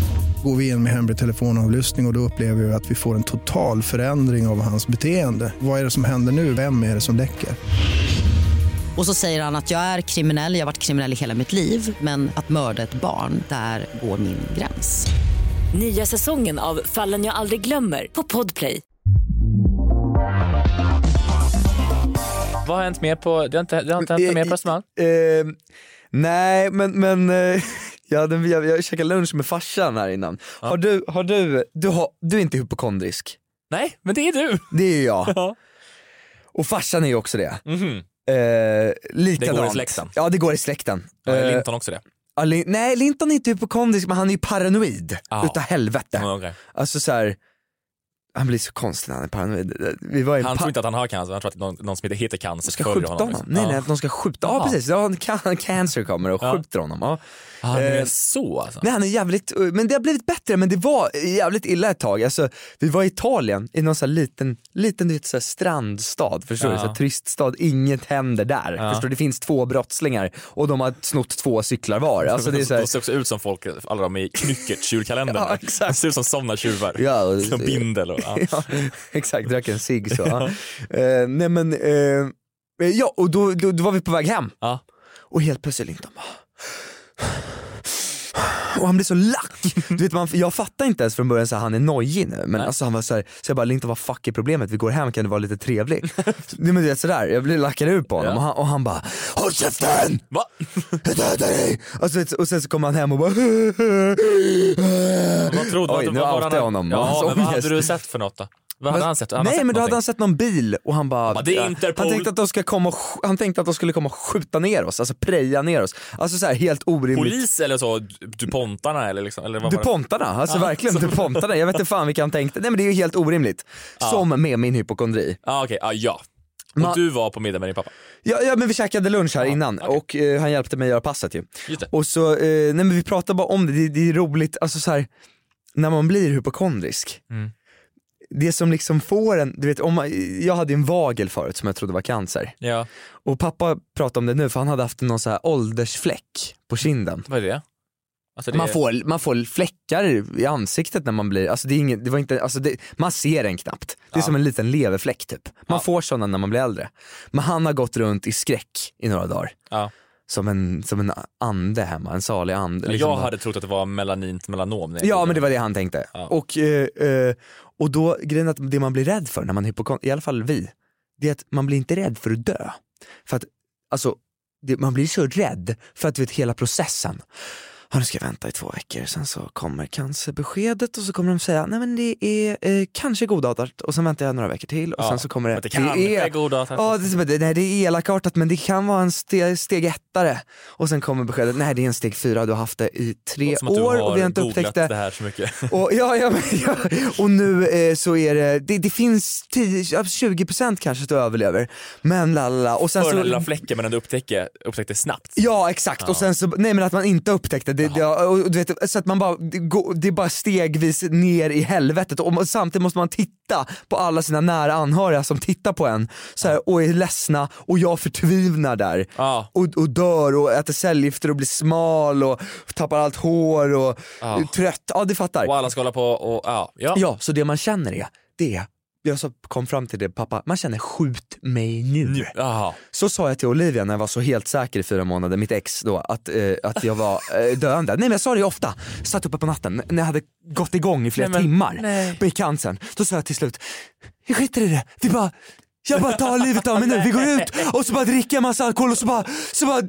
Speaker 8: Går vi in med hemlig telefonavlyssning och, och då upplever vi att vi får en total förändring av hans beteende. Vad är det som händer nu? Vem är det som läcker?
Speaker 9: Och så säger han att jag är kriminell, jag har varit kriminell i hela mitt liv men att mörda ett barn, där går min gräns.
Speaker 10: Nya säsongen av Fallen jag aldrig glömmer på Podplay.
Speaker 2: Vad har hänt mer på, det har inte, det har inte hänt något mer på Östermalm?
Speaker 4: Eh, nej men, men eh, jag, hade, jag, jag käkade lunch med farsan här innan. Har du, har du, du, har, du är inte hypokondrisk?
Speaker 2: Nej, men det är du.
Speaker 4: Det är ju
Speaker 2: Ja.
Speaker 4: jag. Och farsan är ju också det. Eh, likadant.
Speaker 2: Det går i släkten.
Speaker 4: Ja det går i släkten.
Speaker 2: Ja, är
Speaker 4: Eh,
Speaker 2: Linton också det?
Speaker 4: ja, Lin- nej Linton är inte hypokondrisk men han är ju paranoid.
Speaker 2: Ja.
Speaker 4: Utav helvete.
Speaker 2: Ja, okej.
Speaker 4: Alltså så här. Han blir så konstig när han är paranoid. Vi var i en
Speaker 2: Han
Speaker 4: pa-
Speaker 2: tror inte att han har cancer, han tror att någon, någon som heter cancer
Speaker 4: ska
Speaker 2: sköljer
Speaker 4: skjuta
Speaker 2: honom.
Speaker 4: honom.
Speaker 2: liksom.
Speaker 4: Nej,
Speaker 2: Ja.
Speaker 4: nej, att de ska skjuta. Ja,
Speaker 2: Jaha.
Speaker 4: precis. Ja, han kan, cancer kommer och
Speaker 2: Ja.
Speaker 4: skjuter honom. Ja.
Speaker 2: Ah, nu är
Speaker 4: Eh,
Speaker 2: det så alltså.
Speaker 4: Nej, han är jävligt, men det har blivit bättre, men det var jävligt illa ett tag. Alltså, vi var i Italien, i någon så här liten, liten du vet, så här strandstad, förstår
Speaker 2: Ja.
Speaker 4: du? Så här turiststad, inget händer där.
Speaker 2: Ja.
Speaker 4: Förstår du? Det finns två brottslingar och de har snott två cyklar var. Alltså, det är så här,
Speaker 2: De ser också ut som folk, alla de i knyckertjurkalendern.
Speaker 4: Ja, exakt.
Speaker 2: De ser ut som sådana tjuvar.
Speaker 4: Ja, och-
Speaker 2: som bindel och... Ja.
Speaker 4: ja, exakt, drack en cigg så. ja. Eh, nej men, eh, ja och då, då, då var vi på väg hem.
Speaker 2: Ja.
Speaker 4: Och helt plötsligt Linton bara och han blir så lack! Du vet, man, jag fattar inte ens från början så här, han är nojig nu men alltså han var så, här, så jag bara Linton vad fuck är problemet? Vi går hem kan du vara lite trevlig? Nej men du vet sådär, jag blir lackad ut på honom
Speaker 2: Ja.
Speaker 4: och, han, och han bara Håll käften!
Speaker 2: Va?
Speaker 4: Jag dödar dig! Och, så, vet- och sen så kommer han hem och bara
Speaker 2: Vad trodde
Speaker 4: Oj,
Speaker 2: vad-
Speaker 4: nu
Speaker 2: vad var
Speaker 4: outar jag
Speaker 2: han-
Speaker 4: honom. Alltså, Hans
Speaker 2: Ja, men vad hade
Speaker 4: ångest.
Speaker 2: du sett för något då? Vad hade
Speaker 4: Men-
Speaker 2: han sett? Han
Speaker 4: nej
Speaker 2: sett
Speaker 4: men då hade
Speaker 2: någonting.
Speaker 4: han sett någon bil och han bara,
Speaker 2: bara, "Det är Interpol."
Speaker 4: han tänkte att de skulle komma och, sk- han tänkte att de skulle komma och skjuta ner oss, alltså preja ner oss. Alltså så här helt orimligt.
Speaker 2: Polis eller så? Du- Dupontarna eller liksom? Eller vad var det?
Speaker 4: Dupontarna, alltså verkligen Dupontarna. Jag vet inte fan vilka han tänkte. Nej men det är ju helt orimligt. Som med min hypokondri.
Speaker 2: Ah, okej, ah, ja. Och
Speaker 4: Ma-
Speaker 2: du var på middag med din pappa?
Speaker 4: Ja, ja men vi käkade lunch här innan
Speaker 2: okej.
Speaker 4: och eh, han hjälpte mig göra passet ju.
Speaker 2: Just det.
Speaker 4: Och så, eh, nej men vi pratade bara om det, det, det är roligt, alltså så här, när man blir hypokondrisk,
Speaker 2: Mm.
Speaker 4: det som liksom får en, du vet om man, jag hade ju en vagel förut som jag trodde var cancer.
Speaker 2: Ja.
Speaker 4: Och pappa pratade om det nu för han hade haft någon så här åldersfläck på kinden.
Speaker 2: Vad är det? Alltså, det
Speaker 4: Man
Speaker 2: är-
Speaker 4: får, man får fläckar i ansiktet när man blir, alltså det är inget, det var inte, alltså det, man ser den knappt. Det är som en liten leverfläck typ. Man får sådana när man blir äldre. Men han har gått runt i skräck i några dagar.
Speaker 2: Ja.
Speaker 4: Som en, som en ande hemma, en salig ande.
Speaker 2: Men
Speaker 4: liksom.
Speaker 2: jag hade trott att det var melanint melanom. när jag
Speaker 4: Ja
Speaker 2: gjorde
Speaker 4: men det var det han tänkte.
Speaker 2: Ja.
Speaker 4: Och, eh, eh, och då, grejen är att det man blir rädd för när man är hypokondrisk, i alla fall vi, det är att man blir inte rädd för att dö. För att, alltså, det, man blir så rädd för att du vet hela processen. Ja, nu ska jag vänta i två veckor, sen så kommer cancerbeskedet och så kommer de säga nej men det är eh, kanske godartat och sen väntar jag några veckor till och
Speaker 2: Ja,
Speaker 4: sen så kommer det,
Speaker 2: men det kan- det är godartat.
Speaker 4: ja, det, nej, det är elakartat men det kan vara en ste, steg ett lättare. Och sen kommer beskedet, nej det är en steg fyra, du har haft det i tre
Speaker 2: Låter som att du
Speaker 4: år
Speaker 2: har
Speaker 4: och vi har inte
Speaker 2: googlat
Speaker 4: upptäckt det.
Speaker 2: det här så mycket.
Speaker 4: Och, ja, ja, men, ja. och nu eh, så är det, det, det finns 10, ja, 20% kanske att du överlever. Men lalala. Och sen
Speaker 2: För den
Speaker 4: så
Speaker 2: lilla fläcken men ändå upptäckte, upptäckte snabbt.
Speaker 4: Ja exakt, och sen så, nej men att man inte upptäckte det, det och, och du vet, så att man bara, det, går, det är bara stegvis ner i helvetet och man, samtidigt måste man titta på alla sina nära anhöriga som tittar på en så här, och är ledsna och jag förtvivnar där och, och dör och äter cellgifter och blir smal och tappar allt hår och är trött, ja du fattar.
Speaker 2: Och alla ska hålla på och ja. ja.
Speaker 4: Ja, så det man känner är, det är, jag så kom fram till det pappa, man känner skjut mig nu. Så sa jag till Olivia när jag var så helt säker i fyra månader, mitt ex då, att, eh, att jag var eh, döende. Nej men jag sa det ofta, satt uppe på natten när jag hade gått igång i flera
Speaker 5: Nej, men-
Speaker 4: timmar
Speaker 5: nej.
Speaker 4: med cancern. Då sa jag till slut, jag skiter i det, vi bara jag bara tar livet av mig nu, vi går ut och så bara dricker jag massa alkohol och så bara, så bara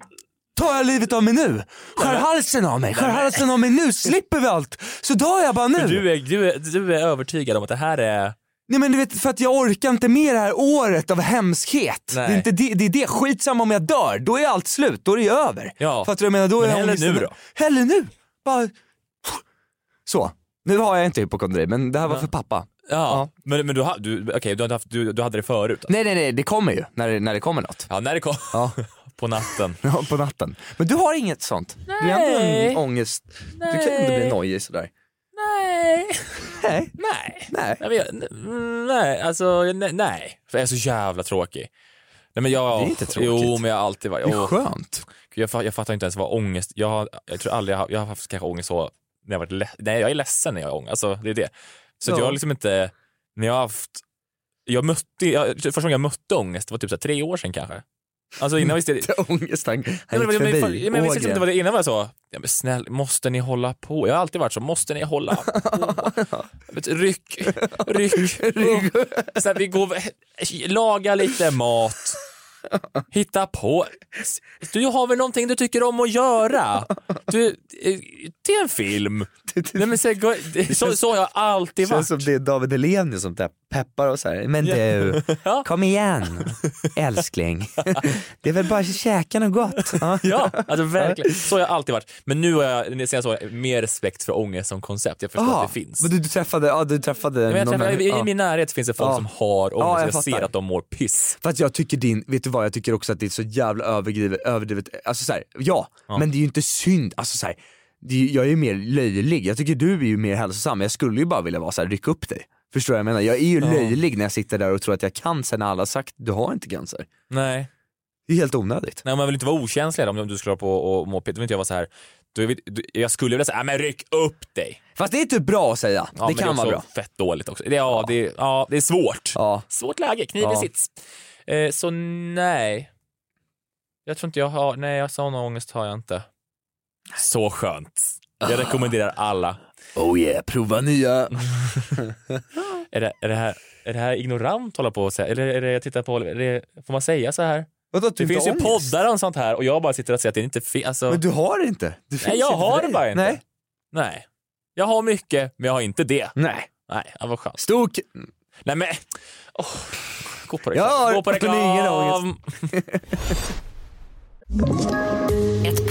Speaker 4: tar jag livet av mig nu. Skär halsen av mig, skär halsen av mig nu, slipper vi allt. Så dör jag bara nu.
Speaker 2: För Du är, du, är, du är övertygad om att det här är...
Speaker 4: Nej men du vet för att jag orkar inte med det här året av hemskhet. Det
Speaker 2: Nej.
Speaker 4: är, inte det, det är det, skitsamma om jag dör, då är allt slut, då är det över.
Speaker 2: Ja.
Speaker 4: Fattar du vad jag menar? Då
Speaker 2: Men
Speaker 4: är
Speaker 2: hellre
Speaker 4: ångesten-
Speaker 2: nu då?
Speaker 4: Hellre nu. Bara... Så, nu har jag inte hypokondri men det här var för pappa.
Speaker 2: Ja, men, men du, ha- du, okej, du, hade haft, du, du hade det förut? Alltså.
Speaker 4: Nej nej nej, det kommer ju när det, när det kommer något.
Speaker 2: Ja, när det kom. på natten.
Speaker 4: Ja, på natten. Men du har inget sånt? Du har inte en ångest, du kan inte bli
Speaker 2: Nej.
Speaker 4: nojig sådär.
Speaker 2: Nej.
Speaker 4: Nej.
Speaker 2: Nej.
Speaker 4: Nej.
Speaker 2: Nej, men jag- mm, nej, alltså ne- nej. För jag är så jävla tråkig. Nej, men jag,
Speaker 4: Det är inte tråkigt.
Speaker 2: Jo, men jag har alltid varit...
Speaker 4: Det är
Speaker 2: åh.
Speaker 4: skönt.
Speaker 2: Gud, Jag, fa- jag fattar inte ens vad ångest... Jag, har, jag tror aldrig jag har, jag har haft kanske ångest så... När jag varit le- nej, jag är ledsen när jag har ångest. Alltså, det är det. Så att
Speaker 4: Ja.
Speaker 2: jag har liksom inte... När jag har haft... Jag mötte, jag, första gången jag mötte ångest var typ så här, tre år sedan kanske. Alltså innan visste jag...
Speaker 4: Ångest, han,
Speaker 2: Ja,
Speaker 4: han
Speaker 2: men-
Speaker 4: gick
Speaker 2: men-
Speaker 4: förbi.
Speaker 2: men- men jag visste liksom
Speaker 4: Ågren.
Speaker 2: inte vad det innan var jag så, ja, men snäll, måste ni hålla på? Jag har alltid varit så, måste ni hålla på? Jag vet, Ryck, ryck, ryck. Så här, vi går, laga lite mat, hitta på. Du har väl någonting du tycker om att göra? Du, eh, till en film. Nej, men så, här, gå- så, så har jag alltid
Speaker 4: känns
Speaker 2: varit.
Speaker 4: som det är David Hellenius som där peppar och så här. Men
Speaker 2: Ja.
Speaker 4: du, kom igen älskling. Det är väl bara att käka något gott.
Speaker 2: Ja, alltså verkligen. Så har jag alltid varit. Men nu har jag, det senaste året, mer respekt för ångest som koncept. Jag förstår
Speaker 4: Aha,
Speaker 2: att det finns.
Speaker 4: Ah. Men du, du träffade, ja, du träffade
Speaker 2: Nej, men jag
Speaker 4: någon
Speaker 2: träffar,
Speaker 4: människa.
Speaker 2: i,
Speaker 4: Ja.
Speaker 2: I min närhet finns det folk
Speaker 4: Ja.
Speaker 2: som har ångest
Speaker 4: Ja,
Speaker 2: och
Speaker 4: jag
Speaker 2: jag, ser
Speaker 4: fattar.
Speaker 2: att de mår piss.
Speaker 4: För att jag tycker din, vet du vad, jag tycker också att det är så jävla överdrivet, överdrivet alltså så här, ja, men det är ju inte synd, alltså så här, det är, ju- jag är ju mer löjlig, jag tycker du är ju mer hälsosam, jag skulle ju bara vilja vara så här, ryck upp dig. Förstår du vad jag menar? Jag är ju
Speaker 2: Ja.
Speaker 4: löjlig när jag sitter där och tror att jag kan sen när alla har sagt du har inte cancer.
Speaker 2: Nej.
Speaker 4: Det är helt onödigt.
Speaker 2: Nej, man vill inte vara okänslig om du skulle hålla på och må piss. Då vill inte jag vara så här, då är vi, du- jag skulle vilja säga, "Nej, men ryck upp dig.
Speaker 4: Fast det är typ bra att säga,
Speaker 2: Ja,
Speaker 4: det
Speaker 2: men
Speaker 4: kan
Speaker 2: det är
Speaker 4: vara bra.
Speaker 2: också fett dåligt också. Det, ja, Det, ja, det är svårt.
Speaker 4: Ja.
Speaker 2: Svårt läge, kniv
Speaker 4: Ja.
Speaker 2: i sits. Eh, så nej. Jag tror inte jag har, nej jag sån ångest har jag inte. Så skönt. Jag rekommenderar alla.
Speaker 4: Oh yeah, prova nya.
Speaker 2: Är det, är det, här, är det här ignorant hålla på och säga? Eller är det jag tittar på, är det, får man säga så här?
Speaker 4: Vadå, typ
Speaker 2: det finns ju poddar om sånt här och jag bara sitter och säger att det inte finns. Alltså,
Speaker 4: Men du har det inte. Det finns
Speaker 2: nej, jag
Speaker 4: inte för
Speaker 2: har
Speaker 4: dig.
Speaker 2: det bara inte.
Speaker 4: Nej.
Speaker 2: Nej. Jag har mycket, men jag har inte det.
Speaker 4: Nej.
Speaker 2: Nej, ja, vad skönt.
Speaker 4: Stor... k-
Speaker 2: Nej men, åh, gå på
Speaker 4: Jag
Speaker 2: reklam.
Speaker 4: har
Speaker 2: Gå på
Speaker 4: ingen
Speaker 2: reklam.
Speaker 4: ångest.
Speaker 10: Ett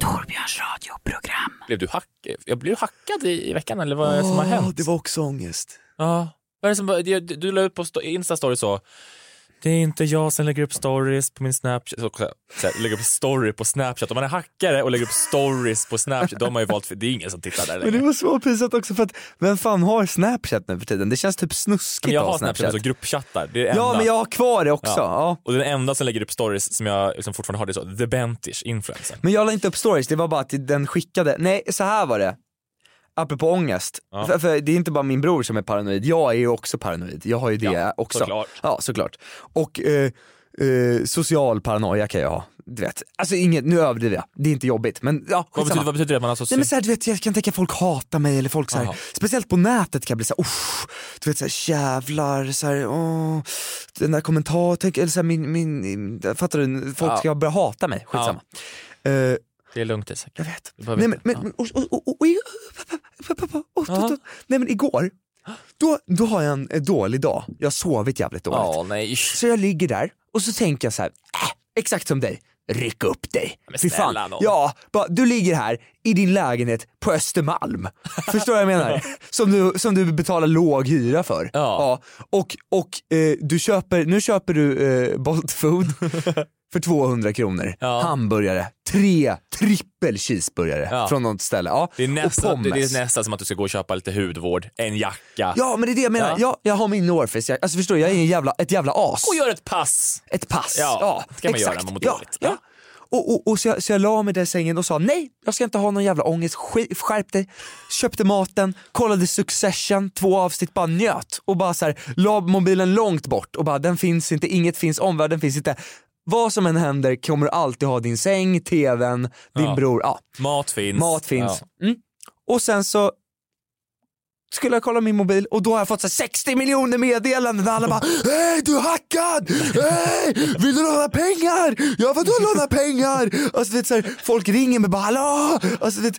Speaker 6: Torbjörns radioprogram.
Speaker 2: Blev du hack... Jag blev hackad i, i veckan eller vad är det som har
Speaker 4: Åh,
Speaker 2: hänt?
Speaker 4: Det var också ångest.
Speaker 2: Ja. Vad är det som, du, du la ut på sto- Insta-story så, Det är inte jag som lägger upp stories på min Snapchat. Så, så här, lägger upp story på Snapchat. Om man är hackare och lägger upp stories på Snapchat, de har ju valt, för, det är ingen som tittar där
Speaker 4: Men det
Speaker 2: längre.
Speaker 4: var så pinsamt också för att vem fan har snapchat nu för tiden? Det känns typ snuskigt
Speaker 2: Men jag
Speaker 4: att
Speaker 2: har
Speaker 4: ha
Speaker 2: Snapchat, alltså gruppchattar. Det är det
Speaker 4: Ja,
Speaker 2: enda.
Speaker 4: men jag har kvar det också.
Speaker 2: Ja. Och den enda som lägger upp stories som jag liksom fortfarande har, det är så, the bentish influencer.
Speaker 4: Men jag la inte upp stories, det var bara att den skickade, nej så här var det. Apropå ångest, för, för det är inte bara min bror som är paranoid, jag är ju också paranoid. Jag har ju det
Speaker 2: Ja,
Speaker 4: också.
Speaker 2: såklart.
Speaker 4: Ja, såklart. Och eh, eh, social paranoia kan jag ha, du vet. Alltså inget, nu överdriver jag, det är inte jobbigt men ja,
Speaker 2: Vad betyder,
Speaker 4: skitsamma.
Speaker 2: vad betyder det? att Man alltså
Speaker 4: Nej men såhär du vet, jag kan tänka folk hatar mig eller folk såhär,
Speaker 2: Aha.
Speaker 4: speciellt på nätet kan jag bli såhär, usch, du vet såhär jävlar, såhär, åh, den där kommentaren, tänk, eller såhär min, min, fattar du, folk
Speaker 2: Ja.
Speaker 4: ska börja hata mig, skitsamma. Eh,
Speaker 2: Det är lugnt Isak. Jag vet.
Speaker 4: Nej men, men och, och, och, och, och, och, och, och, nej men igår, då, då har jag en eh, dålig dag, jag har sovit jävligt dåligt.
Speaker 2: Ja, nej.
Speaker 4: Så jag ligger där och så tänker jag så här, äh, exakt som dig, ryck upp dig.
Speaker 2: Men
Speaker 4: Fy
Speaker 2: snälla
Speaker 4: fan.
Speaker 2: nån.
Speaker 4: Ja, bara, du ligger här i din lägenhet på Östermalm. Förstår du vad jag menar? Som du, som du betalar låg hyra för. Ja. Och, och eh, du köper, nu köper du eh, Bolt Food för 200 kronor. Hamburgare, tre trippel cheeseburgare
Speaker 2: Ja.
Speaker 4: från något ställe. Ja.
Speaker 2: Det är,
Speaker 4: och
Speaker 2: nästan, det
Speaker 4: pommes.
Speaker 2: det är nästan som att du ska gå och köpa lite hudvård, en jacka.
Speaker 4: Ja men det är det jag menar,
Speaker 2: Ja.
Speaker 4: ja. jag har min Norface, jag, alltså förstår du, jag är en jävla, ett jävla as.
Speaker 2: Och gör ett pass.
Speaker 4: Ett pass,
Speaker 2: Ja,
Speaker 4: ja.
Speaker 2: det kan man göra
Speaker 4: exakt.
Speaker 2: när man mår
Speaker 4: ja,
Speaker 2: dåligt.
Speaker 4: ja. Och, och, och så, jag, så jag la mig där i sängen och sa nej, jag ska inte ha någon jävla ångest, Sk- skärp dig. Köpte maten, kollade Succession, två avsnitt, bara njöt. Och bara så här, la mobilen långt bort och bara den finns inte, inget finns, omvärlden finns inte. Vad som än händer kommer du alltid ha din säng, tvn, din
Speaker 2: Ja.
Speaker 4: bror, ja.
Speaker 2: Mat finns.
Speaker 4: Mat finns. Mm. Och sen så skulle jag kolla min mobil och då har jag fått så här 60 miljoner meddelanden där alla bara Hej du är hackad! Hej! Vill du låna pengar? Ja vadå låna pengar? Alltså du vet så här, folk ringer mig bara hallå! Alltså du vet,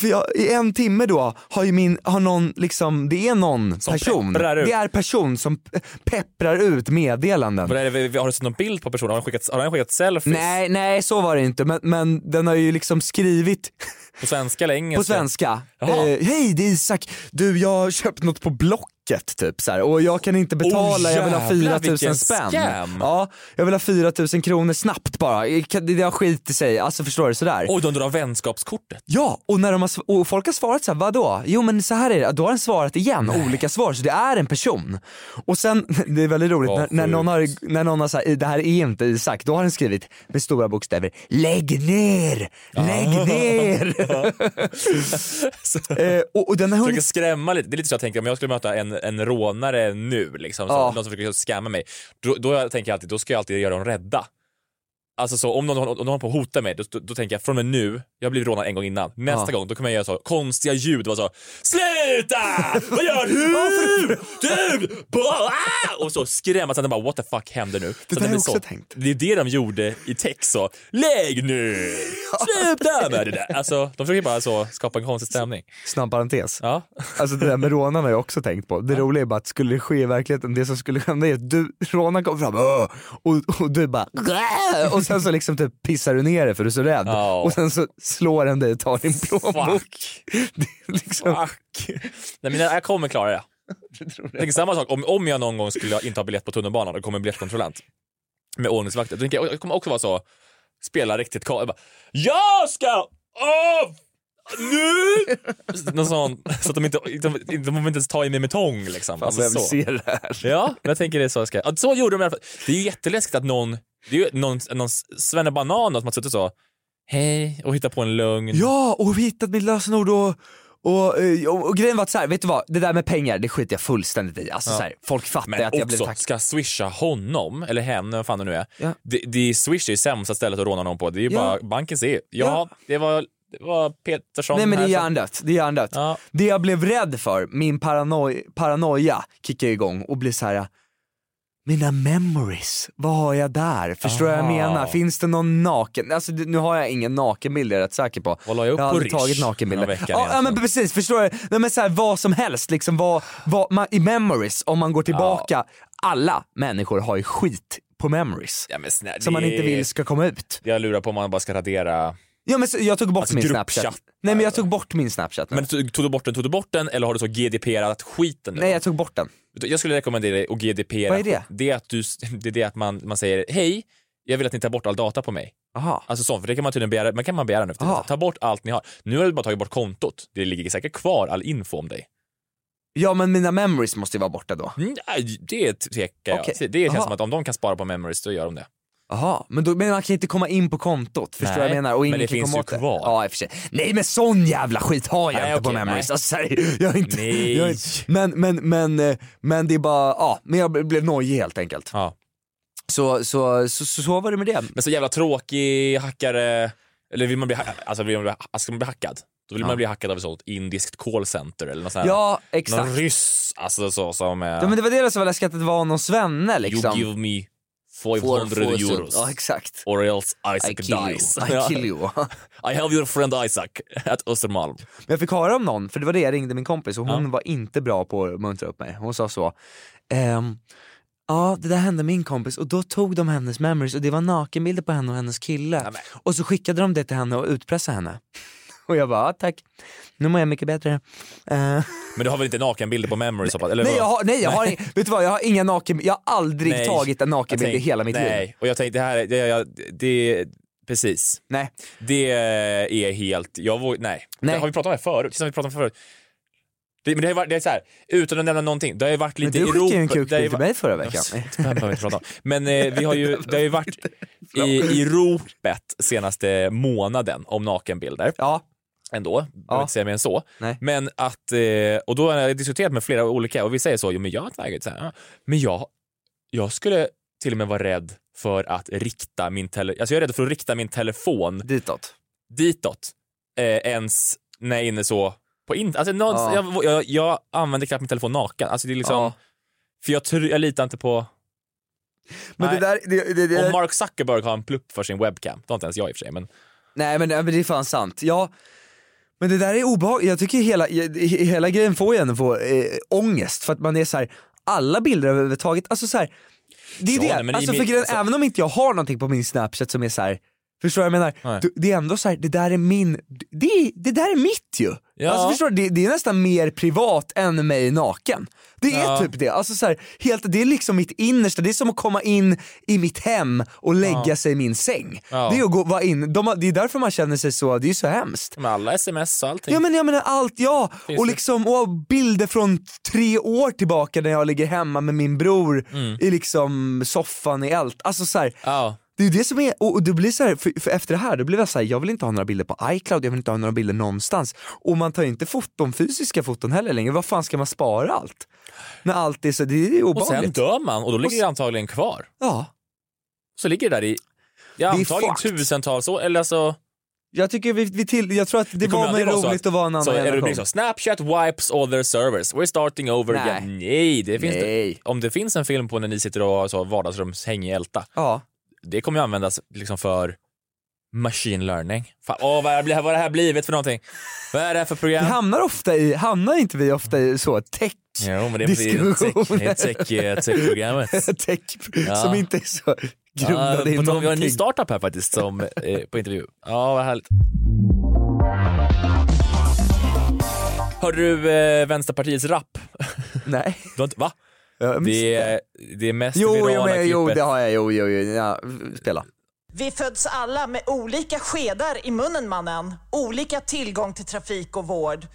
Speaker 4: för jag, i en timme då har ju min, har någon liksom, det är någon person.
Speaker 2: pepprar ut.
Speaker 4: Det är person som pe- pepprar ut meddelanden.
Speaker 2: Vad är det, vi- har du sett någon bild på personen? Har han skickat, har han skickat selfies?
Speaker 4: Nej, nej så var det inte men, men den har ju liksom skrivit
Speaker 2: På svenska eller engelska?
Speaker 4: På svenska. Eh,
Speaker 2: Jaha.
Speaker 4: Hej det är Isak, du jag har köpt något på Blocket typ så här, och jag kan inte betala,
Speaker 2: Åh,
Speaker 4: jag vill ha
Speaker 2: jävlar,
Speaker 4: 4000
Speaker 2: vilken
Speaker 4: spänn.
Speaker 2: scam.
Speaker 4: Ja, jag vill ha 4000 kronor snabbt bara, Jag kan- det har skit i sig, alltså förstår du sådär.
Speaker 2: Oj, de drar vänskapskortet.
Speaker 4: Ja, och, när de har, sv- och folk har svarat så här, vadå? Jo men så här är det, då har den svarat igen, olika svar, så det är en person. Och sen, det är väldigt roligt, när, när någon har, när någon har så här, det här är inte Isak, då har den skrivit med stora bokstäver, lägg ner, lägg
Speaker 2: Ah.
Speaker 4: ner. Eh, och, och den har
Speaker 2: Försöker
Speaker 4: hunnit
Speaker 2: skrämma lite. Det är lite så jag tänker om jag skulle möta en, en rånare nu, liksom, så,
Speaker 4: Ja.
Speaker 2: någon som försöker skamma mig, då, då tänker jag alltid, då ska jag alltid göra dem rädda. Alltså så, om någon, om någon håller på att hota mig, då, då, då tänker jag från och med nu, jag har blivit rånad en gång innan, nästa
Speaker 4: Ja.
Speaker 2: gång då kommer jag göra så konstiga ljud, bara så “Sluta! Vad gör du? Du! Bara!” Och så skrämma så att den bara “What the fuck händer nu?” Det så att den
Speaker 4: där har
Speaker 2: blir
Speaker 4: jag
Speaker 2: så,
Speaker 4: också tänkt.
Speaker 2: Det är det de gjorde i text så “Lägg nu! Sluta med det där!” Alltså, de försöker bara så skapa en konstig stämning.
Speaker 4: Snabb parentes.
Speaker 2: Ja.
Speaker 4: Alltså det där med rånarna har jag också tänkt på. Det roliga är bara att skulle det ske i verkligheten, det som skulle hända är att du, rånaren kommer fram "Åh!" och, och du bara "Åh!" och sen så liksom typ pissar du ner dig för du är så rädd.
Speaker 2: Ja.
Speaker 4: Och sen så slår den dig och tar din plånbok. liksom.
Speaker 2: Fuck. alltså, Nej, men jag jag kommer klara det. Jag tänker samma sak om, om jag någon gång skulle inte ha biljett på tunnelbanan och det kommer en biljettkontrollant med ordningsvakter. Då tänker jag, jag kommer också vara så, spela riktigt ka- jag, bara, jag ska av nu! Någon sån, så att de inte, de, de behöver inte ens ta i mig med tång liksom.
Speaker 4: Fan, Alltså, jag vill
Speaker 2: så.
Speaker 4: se det här.
Speaker 2: Ja, men jag tänker det är så jag ska. ja, Så gjorde de i alla fall. Det är ju jätteläskigt att någon, det är ju någon, någon svennebanan som har suttit så, hej, och hittat på en lugn.
Speaker 4: Ja, och hittat mitt lösenord och och, eh, och, och grejen var att så här, vet du vad, det där med pengar det skiter jag fullständigt i. Alltså,
Speaker 2: Ja.
Speaker 4: så här, folk fattar
Speaker 2: Men
Speaker 4: att jag blev
Speaker 2: också,
Speaker 4: tack.
Speaker 2: ska jag swisha honom, eller henne, vad fan det nu är.
Speaker 4: Ja.
Speaker 2: Det, det är swish är ju sämsta stället att råna någon på. Det är ju
Speaker 4: Ja.
Speaker 2: bara, banken ser ju. Ja,
Speaker 4: Ja.
Speaker 2: det var, det var Petersson
Speaker 4: Nej men det
Speaker 2: här som-
Speaker 4: är hjärndött, det är hjärndött. Det jag blev rädd för, min paranoi- paranoia kickar igång och blir så här. mina memories, vad har jag där? Förstår du vad jag
Speaker 2: Aha.
Speaker 4: menar? Finns det någon naken, alltså det- nu har jag ingen nakenbild jag är rätt säker på.
Speaker 2: Vad la jag upp
Speaker 4: jag har
Speaker 2: på
Speaker 4: aldrig
Speaker 2: Rish
Speaker 4: tagit
Speaker 2: den här
Speaker 4: nakenbilder.
Speaker 2: veckan
Speaker 4: Ja, ja
Speaker 2: egentligen?
Speaker 4: men precis, förstår du? Nej, men så här, vad som helst, liksom, vad, vad, man, i memories, om man går tillbaka, alla människor har ju skit på memories.
Speaker 2: Ja, men snälla,
Speaker 4: som man
Speaker 2: det-
Speaker 4: inte vill ska komma ut.
Speaker 2: Jag lurar på om man bara ska radera.
Speaker 4: Ja, men så, jag tog bort
Speaker 2: Alltså,
Speaker 4: min
Speaker 2: gruppchatt.
Speaker 4: snapchat. Nej men jag tog bort min snapchat nu.
Speaker 2: Men tog tog du bort den, tog du bort den eller har du så GDPR-at skiten nu?
Speaker 4: Nej jag tog bort den.
Speaker 2: Jag skulle rekommendera dig att GDPR.
Speaker 4: Vad är det?
Speaker 2: Det är, att du, det är det att man, man säger hej, jag vill att ni tar bort all data på mig.
Speaker 4: Aha.
Speaker 2: Alltså sånt, för det kan man tydligen begära, man kan man begära nu. för tiden. Ta bort allt ni har. Nu har du bara tagit bort kontot. Det ligger säkert kvar all info om dig.
Speaker 4: Ja men mina memories måste ju vara borta då.
Speaker 2: Mm, Nej, det tvekar
Speaker 4: Okej.
Speaker 2: jag. Det känns
Speaker 4: Aha.
Speaker 2: som att om de kan spara på memories, då gör de det.
Speaker 4: Jaha, men, då, men man kan inte komma in på kontot, förstår du vad jag
Speaker 2: Nej,
Speaker 4: menar? Och
Speaker 2: men
Speaker 4: ingen
Speaker 2: det
Speaker 4: kan
Speaker 2: finns
Speaker 4: komma
Speaker 2: ju
Speaker 4: åt det.
Speaker 2: kvar.
Speaker 4: Ja, i och för sig. Nej men sån jävla skit har jag
Speaker 2: Nej,
Speaker 4: inte på
Speaker 2: okej,
Speaker 4: memories.
Speaker 2: nej.
Speaker 4: Alltså, seri- jag är inte,
Speaker 2: Nej.
Speaker 4: Jag är inte, men, men, men, eh, men det är bara, ja, men jag blev nojig helt enkelt.
Speaker 2: Ja.
Speaker 4: Så, så, så, så, så var det med det.
Speaker 2: Men så jävla tråkig hackare, eller vill man bli, ha- alltså vill man bli, ha- ska man bli hackad? Då vill
Speaker 4: Ja.
Speaker 2: man bli hackad av ett sånt indiskt callcenter eller något sånt här.
Speaker 4: Ja, exakt.
Speaker 2: Någon ryss, alltså så som... eh,
Speaker 4: Ja, men det var det som var läskigt att det var någon svenne liksom.
Speaker 2: You give me 500
Speaker 4: Four- four-
Speaker 2: euros.
Speaker 4: Ja, exakt.
Speaker 2: Or else Isaac
Speaker 4: I kill you.
Speaker 2: dies.
Speaker 4: I kill you.
Speaker 2: I have your friend Isaac at Östermalm.
Speaker 4: Men jag fick höra om någon, för det var det jag ringde min kompis och hon var inte bra på att muntra upp mig. Hon sa så, ehm, ja det där hände min kompis och då tog de hennes memories och det var nakenbilder på henne och hennes kille. och så skickade de det till henne och utpressade henne. Och jag bara, "Ja, tack, nu mår jag mycket bättre. Eh,
Speaker 2: Men du har väl inte nakenbilder på memories? hoppas- Eller
Speaker 4: nej,
Speaker 2: vad?
Speaker 4: jag har, nej jag har, ing- vet du vad, jag har inga naken, jag har aldrig
Speaker 2: Nej.
Speaker 4: tagit en nakenbild
Speaker 2: Jag
Speaker 4: i
Speaker 2: tänkte-
Speaker 4: hela mitt
Speaker 2: nej.
Speaker 4: liv.
Speaker 2: och jag tänkte det här, är- det, jag- det, precis.
Speaker 4: Nej.
Speaker 2: Det är helt, jag vågar, nej.
Speaker 4: Nej.
Speaker 2: Det har vi pratat om det här förut? Det har vi pratat om förut. Det, men det har ju varit, det är så här, utan att nämna någonting, det har ju varit
Speaker 4: Men
Speaker 2: lite
Speaker 4: du skickade ju en
Speaker 2: Europa- det har
Speaker 4: kukbild till
Speaker 2: varit-
Speaker 4: mig förra veckan.
Speaker 2: Det behöver vi inte prata om. Men eh, vi har ju, det har ju varit i, i ropet senaste månaden om nakenbilder.
Speaker 4: Ja.
Speaker 2: Ändå, jag vill inte säga mer än så.
Speaker 4: Nej.
Speaker 2: Men att, eh, och då har jag diskuterat med flera olika och vi säger så, jo men jag har tagit så här, ja. men jag, jag skulle till och med vara rädd för att rikta min telefon, alltså jag är rädd för att rikta min telefon
Speaker 4: ditåt,
Speaker 2: ditåt eh, ens när jag är inne så på in, alltså någon,
Speaker 4: Ja.
Speaker 2: jag, jag, jag använder knappt min telefon naken, alltså det är liksom,
Speaker 4: Ja.
Speaker 2: för jag, tror- jag litar inte på
Speaker 4: Men det där, det, det, det,
Speaker 2: och Mark Zuckerberg har en plupp för sin webcam. Det har inte ens jag i och för sig. Men...
Speaker 4: Nej men, men det är fan sant. Ja, men det där är obehagligt. Jag tycker hela, he- hela grejen får ju en att få eh, ångest för att man är så här, alla bilder överhuvudtaget, alltså så här, det
Speaker 2: Ja,
Speaker 4: är det.
Speaker 2: nej, men i
Speaker 4: alltså, för
Speaker 2: min-
Speaker 4: grejen,
Speaker 2: alltså-
Speaker 4: även om inte jag har någonting på min snapchat som är så här. förstår du vad jag menar?
Speaker 2: Nej.
Speaker 4: Du, det är ändå så här, det där är min, det, är- det där är mitt ju.
Speaker 2: Ja.
Speaker 4: Alltså förstår du, det, det är nästan mer privat än mig naken. Det är
Speaker 2: Ja.
Speaker 4: typ det, alltså så här, helt, det är liksom mitt innersta, det är som att komma in i mitt hem och lägga
Speaker 2: Ja.
Speaker 4: sig i min säng.
Speaker 2: Ja.
Speaker 4: Det är att gå, vara in, de, har- det är därför man känner sig så, det är ju så hemskt.
Speaker 2: Med alla sms och allting.
Speaker 4: Ja men jag menar allt, ja!
Speaker 2: Finns
Speaker 4: Och
Speaker 2: det?
Speaker 4: liksom och bilder från tre år tillbaka när jag ligger hemma med min bror
Speaker 2: Mm.
Speaker 4: i liksom soffan i allt. Alltså så här,
Speaker 2: Ja.
Speaker 4: det är ju det som är, och, och det blir så här, för, för efter det här då blev jag så här, jag vill inte ha några bilder på iCloud, jag vill inte ha några bilder någonstans. Och man tar ju inte foton, fysiska foton heller längre, vad fan ska man spara allt? När allt är så, det är ju
Speaker 2: och sen
Speaker 4: obehagligt.
Speaker 2: dör man och då
Speaker 4: Och
Speaker 2: ligger
Speaker 4: s-
Speaker 2: det antagligen kvar.
Speaker 4: Ja.
Speaker 2: Så ligger det där i ja,
Speaker 4: är
Speaker 2: antagligen
Speaker 4: fucked.
Speaker 2: tusentals år. Eller alltså,
Speaker 4: Jag tycker vi, vi till, jag tror att det,
Speaker 2: kommer
Speaker 4: var
Speaker 2: aldrig
Speaker 4: mer
Speaker 2: vara så
Speaker 4: roligt att vara en annan
Speaker 2: så är det liksom-
Speaker 4: generation.
Speaker 2: blir så, Snapchat wipes all their servers. We're starting over
Speaker 4: Nej.
Speaker 2: again. Nej, det finns
Speaker 4: Nej.
Speaker 2: Det, om det finns en film på när ni sitter och har så vardagsrumshäng i Älta,
Speaker 4: ja.
Speaker 2: det kommer ju användas liksom för machine learning. Fan, åh, vad, blir, vad det här blivit för någonting? Vad är det här för
Speaker 4: Vi
Speaker 2: program?
Speaker 4: hamnar ofta i, hamnar inte vi ofta i så tech
Speaker 2: Jo, men det är tech-
Speaker 4: diskussioner.
Speaker 2: tech- eh, tech-programmet.
Speaker 4: tech,
Speaker 2: Ja.
Speaker 4: Som inte är så
Speaker 2: Ja,
Speaker 4: grundade i
Speaker 2: på tal- Vi har en ny
Speaker 4: någonting.
Speaker 2: startup här faktiskt som, eh, på intervju. Ja, vad härligt. Hörde du eh, Vänsterpartiets rap?
Speaker 4: Nej.
Speaker 2: Du har inte, va?
Speaker 4: Jag missade.
Speaker 2: Det är, det är mest
Speaker 4: Jo,
Speaker 2: virala
Speaker 4: jo, men, jo,
Speaker 2: klippet.
Speaker 4: det har jag. Jo, jo, jo. Ja, spela.
Speaker 11: Vi föds alla med olika skedar i munnen mannen. Olika tillgång till trafik och vård.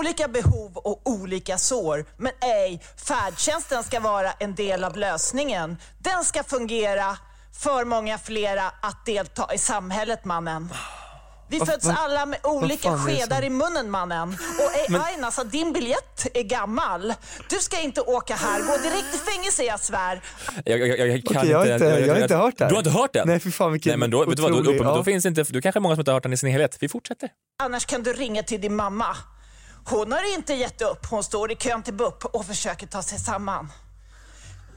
Speaker 11: Olika behov och olika sår. Men ej, färdtjänsten ska vara en del av lösningen. Den ska fungera för många flera att delta i samhället mannen. Vi
Speaker 12: Vad-
Speaker 11: föds
Speaker 12: vad-
Speaker 11: alla med
Speaker 12: vad
Speaker 11: olika
Speaker 12: fan är det
Speaker 11: skedar
Speaker 12: som-
Speaker 11: i munnen mannen. Och ej
Speaker 12: Men-
Speaker 11: Aina, så din biljett är gammal. Du ska inte åka här, gå direkt i fängelse jag svär.
Speaker 2: Jag, jag, jag, jag kan
Speaker 4: Okej, jag har inte- jag har inte hört det här.
Speaker 2: Du har inte hört den?
Speaker 4: Nej, för fan vilken
Speaker 2: Nej, men då, vet du vad, då,
Speaker 4: otrolig-
Speaker 2: då,
Speaker 4: ja.
Speaker 2: då finns inte, då kanske är många som inte har hört den i sin helhet. Vi fortsätter.
Speaker 11: Annars kan du ringa till din mamma. Hon har inte gett upp. Hon står i kön till BUP och försöker ta sig samman.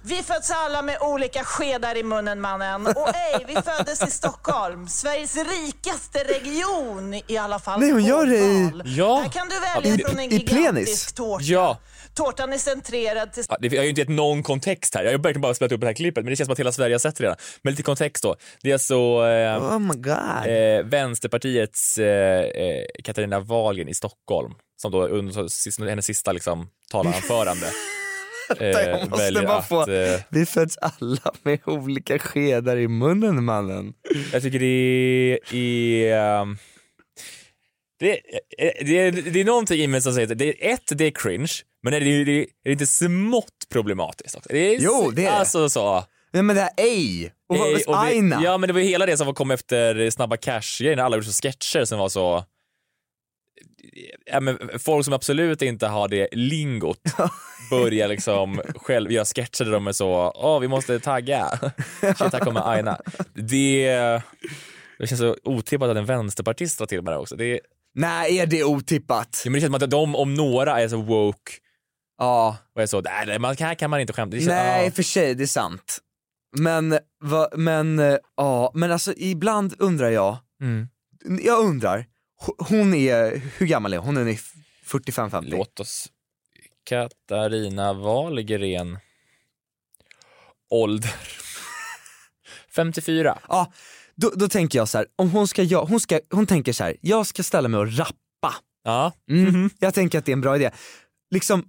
Speaker 11: Vi föds alla med olika skedar i munnen mannen. Och ej, vi föddes i Stockholm, Sveriges rikaste region i alla fall.
Speaker 4: Nej, hon gör det i...
Speaker 2: Ja.
Speaker 11: Här kan du välja från en
Speaker 2: I- i plenis.
Speaker 11: gigantisk tårta.
Speaker 2: Ja.
Speaker 11: Tårtan är centrerad till
Speaker 2: Ja, det- Jag har ju inte gett någon kontext här. Jag har verkligen bara spelat upp det här klippet, men det känns som att hela Sverige har sett det redan. Men lite kontext då. Det är alltså eh,
Speaker 4: Oh my god.
Speaker 2: eh, Vänsterpartiets eh, eh, Katarina Wahlgren i Stockholm, som då under så- sist- hennes sista liksom, talanförande
Speaker 4: jag måste
Speaker 2: väljer
Speaker 4: bara
Speaker 2: att,
Speaker 4: få,
Speaker 2: eh,
Speaker 4: vi föds alla med olika skedar i munnen mannen.
Speaker 2: Jag tycker det är... ehm, Det, är- det, är, det är någonting i mig som säger att det är ett, det är cringe, men är det, det, är det inte smått problematiskt också? Det är,
Speaker 4: Jo, det är det.
Speaker 2: Alltså så.
Speaker 4: Nej men det här ej, och vad
Speaker 2: Ej, och
Speaker 4: var
Speaker 2: det-
Speaker 4: aina?
Speaker 2: Ja, men det var ju hela det som kom efter Snabba Cash-grejen, alla gjorde så sketcher som var så... Ja, men folk som absolut inte har det lingot börjar liksom själv göra sketcher där de är så, åh vi måste tagga, shit här kommer Aina. Det, det känns så otippat att en vänsterpartist drar till med det här också. Det,
Speaker 4: Nej är det otippat?
Speaker 2: Ja, men det känns som att de om några är så woke
Speaker 4: ja.
Speaker 2: och är så, nej nej, man, här kan man inte skämta. Det känns-
Speaker 4: Nej
Speaker 2: ja.
Speaker 4: för sig, det är sant. Men, va, men, eh, ja, men alltså ibland undrar jag,
Speaker 2: Mm.
Speaker 4: jag undrar, ho- hon är, hur gammal är hon? Hon är 45-50?
Speaker 2: Låt oss, Katarina Wahlgren, ålder 54.
Speaker 4: Ja, då, då tänker jag så här, om hon ska, jag, hon ska, hon tänker så här, jag ska ställa mig och rappa.
Speaker 2: Ja.
Speaker 4: Mm, Jag tänker att det är en bra idé. Liksom,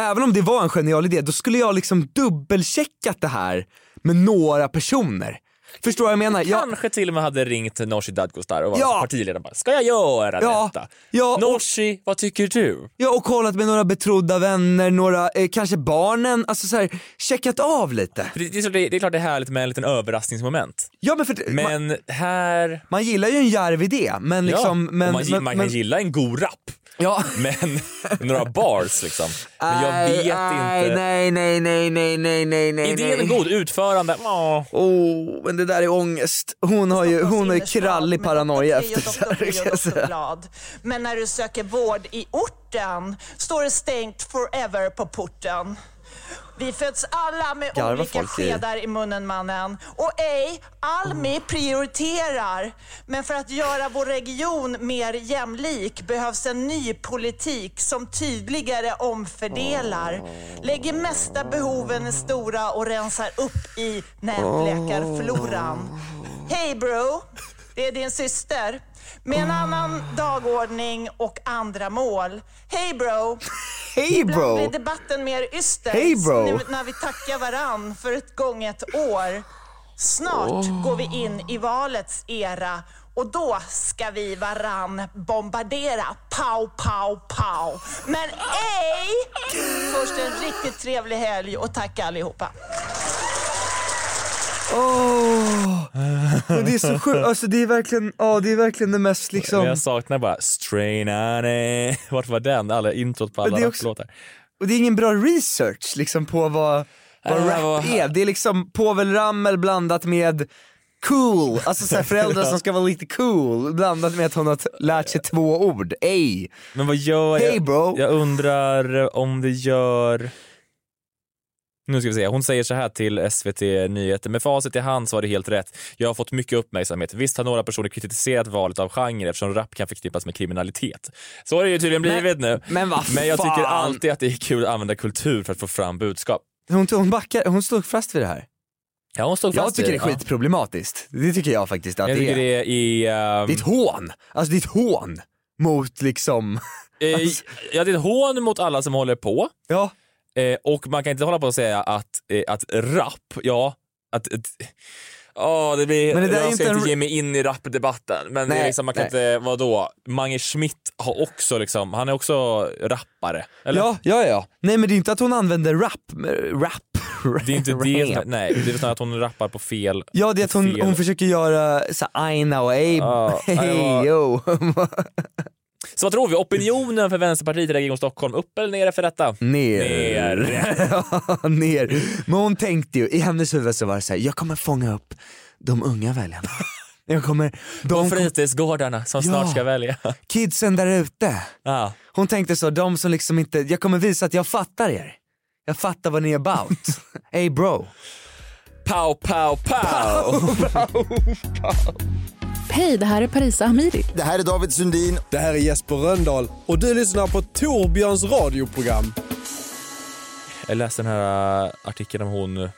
Speaker 4: även om det var en genial idé, då skulle jag liksom dubbelcheckat det här med några personer. Förstår vad jag menar? Jag,
Speaker 2: Kanske till och med hade ringt Nooshi Dadgostar och var
Speaker 4: Ja.
Speaker 2: partiledare bara, ska jag göra
Speaker 4: Ja.
Speaker 2: detta?
Speaker 4: Ja,
Speaker 2: Nooshi, vad tycker du?
Speaker 4: Ja och kollat med några betrodda vänner, några, eh, kanske barnen, alltså så här, checkat av lite.
Speaker 2: För Det, det, är så, det, det är klart det är härligt med en liten överraskningsmoment.
Speaker 4: Ja men för det-
Speaker 2: Men här...
Speaker 4: Man gillar ju en djärv idé men
Speaker 2: Ja,
Speaker 4: liksom,
Speaker 2: och
Speaker 4: men,
Speaker 2: man, gi-
Speaker 4: men,
Speaker 2: man kan
Speaker 4: men,
Speaker 2: gilla en god rap,
Speaker 4: ja.
Speaker 2: men några bars liksom. Men jag
Speaker 4: Nej,
Speaker 2: vet
Speaker 4: nej,
Speaker 2: inte.
Speaker 4: Nej, nej, nej, nej, nej, nej, nej.
Speaker 2: Idén är
Speaker 4: nej.
Speaker 2: god, utförande, ja.
Speaker 4: Oh, men det där är ångest. Hon har ju, hon har ju krallig paranoia
Speaker 11: Prio,
Speaker 4: efter så
Speaker 11: Dr.
Speaker 4: här,
Speaker 11: Prio,
Speaker 4: kan jag
Speaker 11: Dr.
Speaker 4: säga.
Speaker 11: Glad. Men när du söker vård i orten står det stängt forever på porten. Vi föds alla med
Speaker 4: Garvar
Speaker 11: olika
Speaker 4: folk i- Mm.
Speaker 11: skedar i munnen mannen. Och ej, Almi prioriterar. Men för att göra vår region mer jämlik behövs en ny politik som tydligare omfördelar. Lägger mesta behoven i stora och rensar upp i nätläkarfloran. Hej bro, det är din syster. Med en annan dagordning och andra mål. Hej bro!
Speaker 4: Hej
Speaker 11: Ibland
Speaker 4: bro!
Speaker 11: blir debatten mer yster
Speaker 4: Hej, bro.
Speaker 11: nu när vi tackar varann för ett gånget år. Snart går vi in i valets era och då ska vi varann bombardera. Pow, pow, pow. Men ej! Först en riktigt trevlig helg och tack allihopa.
Speaker 4: Åh, men det är så sjukt, alltså det är verkligen, ja det är verkligen det mest
Speaker 2: Men
Speaker 4: liksom
Speaker 2: jag saknar bara Strain on it. Vart var den? Alla introt på
Speaker 4: Men
Speaker 2: alla
Speaker 4: det är också-
Speaker 2: rapplåtar.
Speaker 4: Och det är ingen bra research liksom på vad, vad
Speaker 2: Äh,
Speaker 4: rap
Speaker 2: vad-
Speaker 4: är. Det är liksom Povel Ramel blandat med cool, alltså så här föräldrar som ska vara lite cool blandat med att hon har t- lärt sig två ord, ej.
Speaker 2: Men vad gör
Speaker 4: Hey,
Speaker 2: jag?
Speaker 4: bro.
Speaker 2: Jag undrar om det gör... Nu ska vi se, hon säger så här till SVT Nyheter. Med facit i hand så var det helt rätt. Jag har fått mycket uppmärksamhet. Visst har några personer kritiserat valet av genre eftersom rap kan förknippas med kriminalitet. Så har det ju tydligen blivit nu.
Speaker 4: men vad
Speaker 2: Men jag tycker
Speaker 4: fan.
Speaker 2: alltid att det är kul att använda kultur för att få fram budskap.
Speaker 4: Hon, hon backar, hon stod fast vid det här.
Speaker 2: Ja, hon stod
Speaker 4: Jag
Speaker 2: fast
Speaker 4: tycker
Speaker 2: i
Speaker 4: det är
Speaker 2: det, ja.
Speaker 4: skitproblematiskt, det tycker jag faktiskt att
Speaker 2: Jag
Speaker 4: det
Speaker 2: tycker
Speaker 4: är.
Speaker 2: det är... ehm,
Speaker 4: Det är ett hån, alltså det är ett hån mot liksom
Speaker 2: Eh, ja, det är ett hån mot alla som håller på.
Speaker 4: Ja.
Speaker 2: Eh, och man kan inte hålla på och säga att, eh, att rap, ja, att... att ja, det blir,
Speaker 4: Men det där är
Speaker 2: jag
Speaker 4: inte
Speaker 2: ska
Speaker 4: en-
Speaker 2: inte ge mig in i rapdebatten, men det
Speaker 4: Nej,
Speaker 2: är liksom, man kan
Speaker 4: nej.
Speaker 2: inte, vadå? Mange Schmidt har också liksom, han är också rappare. Eller?
Speaker 4: Ja, ja, ja. Nej men det är inte att hon använder rap, rap.
Speaker 2: Det är inte det, som-
Speaker 4: Rap.
Speaker 2: nej, det är snarare att hon rappar på fel...
Speaker 4: Ja det är att hon,
Speaker 2: fel-
Speaker 4: hon försöker göra så här, aina och ej,
Speaker 2: Ja, nej, det var-
Speaker 4: hej yo.
Speaker 2: Så vad tror vi? Opinionen för Vänsterpartiet i Region Stockholm, upp eller ner för detta?
Speaker 4: Ner.
Speaker 2: Ner.
Speaker 4: Ja, Ner. Men hon tänkte ju, i hennes huvud så var det så här, jag kommer fånga upp de unga väljarna. Jag kommer, de
Speaker 2: De
Speaker 4: kom,
Speaker 2: fritidsgårdarna som snart
Speaker 4: Ja.
Speaker 2: ska välja.
Speaker 4: kidsen där ute.
Speaker 2: Ja.
Speaker 4: Hon tänkte så, de som liksom inte, jag kommer visa att jag fattar er. Jag fattar vad ni är about. Ey bro.
Speaker 2: Pow, pow, pow!
Speaker 12: Hej, det här är Parisa Hamidi.
Speaker 7: Det här är David Sundin. Det här är Jesper Röndahl och du lyssnar på Torbjörns radioprogram.
Speaker 2: Jag läste den här äh, artikeln om hon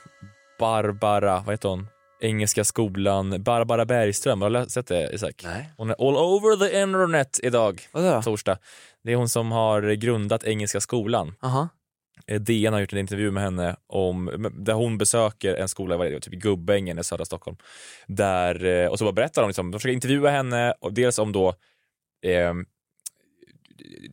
Speaker 2: Barbara, vad heter hon? Engelska skolan, Barbara Bergström, har du lä- sett det Isak? Nej. Hon är all over the internet idag, torsdag. Det är hon som har grundat Engelska skolan.
Speaker 4: Aha.
Speaker 2: Eh, DN har gjort en intervju med henne om, där hon besöker en skola vad är det, typ i Gubbängen i södra Stockholm. Där, eh, och så bara berättar de, liksom, de försöker intervjua henne, och dels om då eh,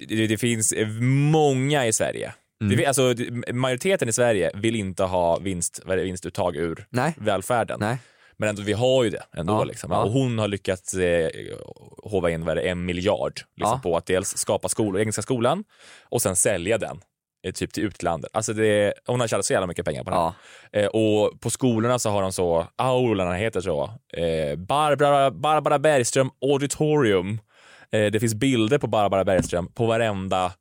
Speaker 2: det, det finns eh, många i Sverige det, fin- alltså, det- majoriteten i Sverige vill inte ha vinst, vad är det, vinstuttag ur välfärden. Men ändå, vi har ju det ändå. liksom. Och hon har lyckats eh, hova in vad är det, en miljard liksom, på att dels skapa skolor, Engelska skolan och sen sälja den eh, typ till utlandet. Alltså det, hon har tjänat så jävla mycket pengar på det här. eh, Och på skolorna så har de så, aulorna heter så, eh, Barbara, Barbara Bergström Auditorium. Eh, det finns bilder på Barbara Bergström på varenda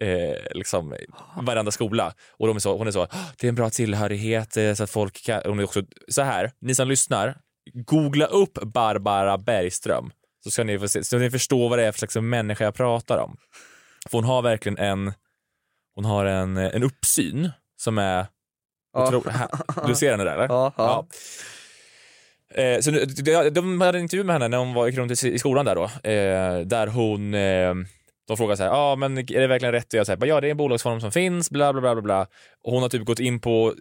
Speaker 2: Eh, liksom, varenda skola. Och de är så, hon är så, "Ah, det är en bra tillhörighet eh, så att folk kan... Hon är också så här, ni som lyssnar, googla upp Barbara Bergström så ska ni, få se, så ni förstår vad det är för slags människa jag pratar om. För hon har verkligen en, hon har en, en uppsyn som är otro- här- Du ser henne där eller? Ja. Eh, så nu, de, de hade en intervju med henne när hon var gick runt i, i skolan där då, eh, där hon eh, de frågar så här, ah, men är det verkligen rätt att göra så här? Bara, Ja, det är en bolagsform som finns, bla bla bla bla, bla. Och hon har typ gått in på,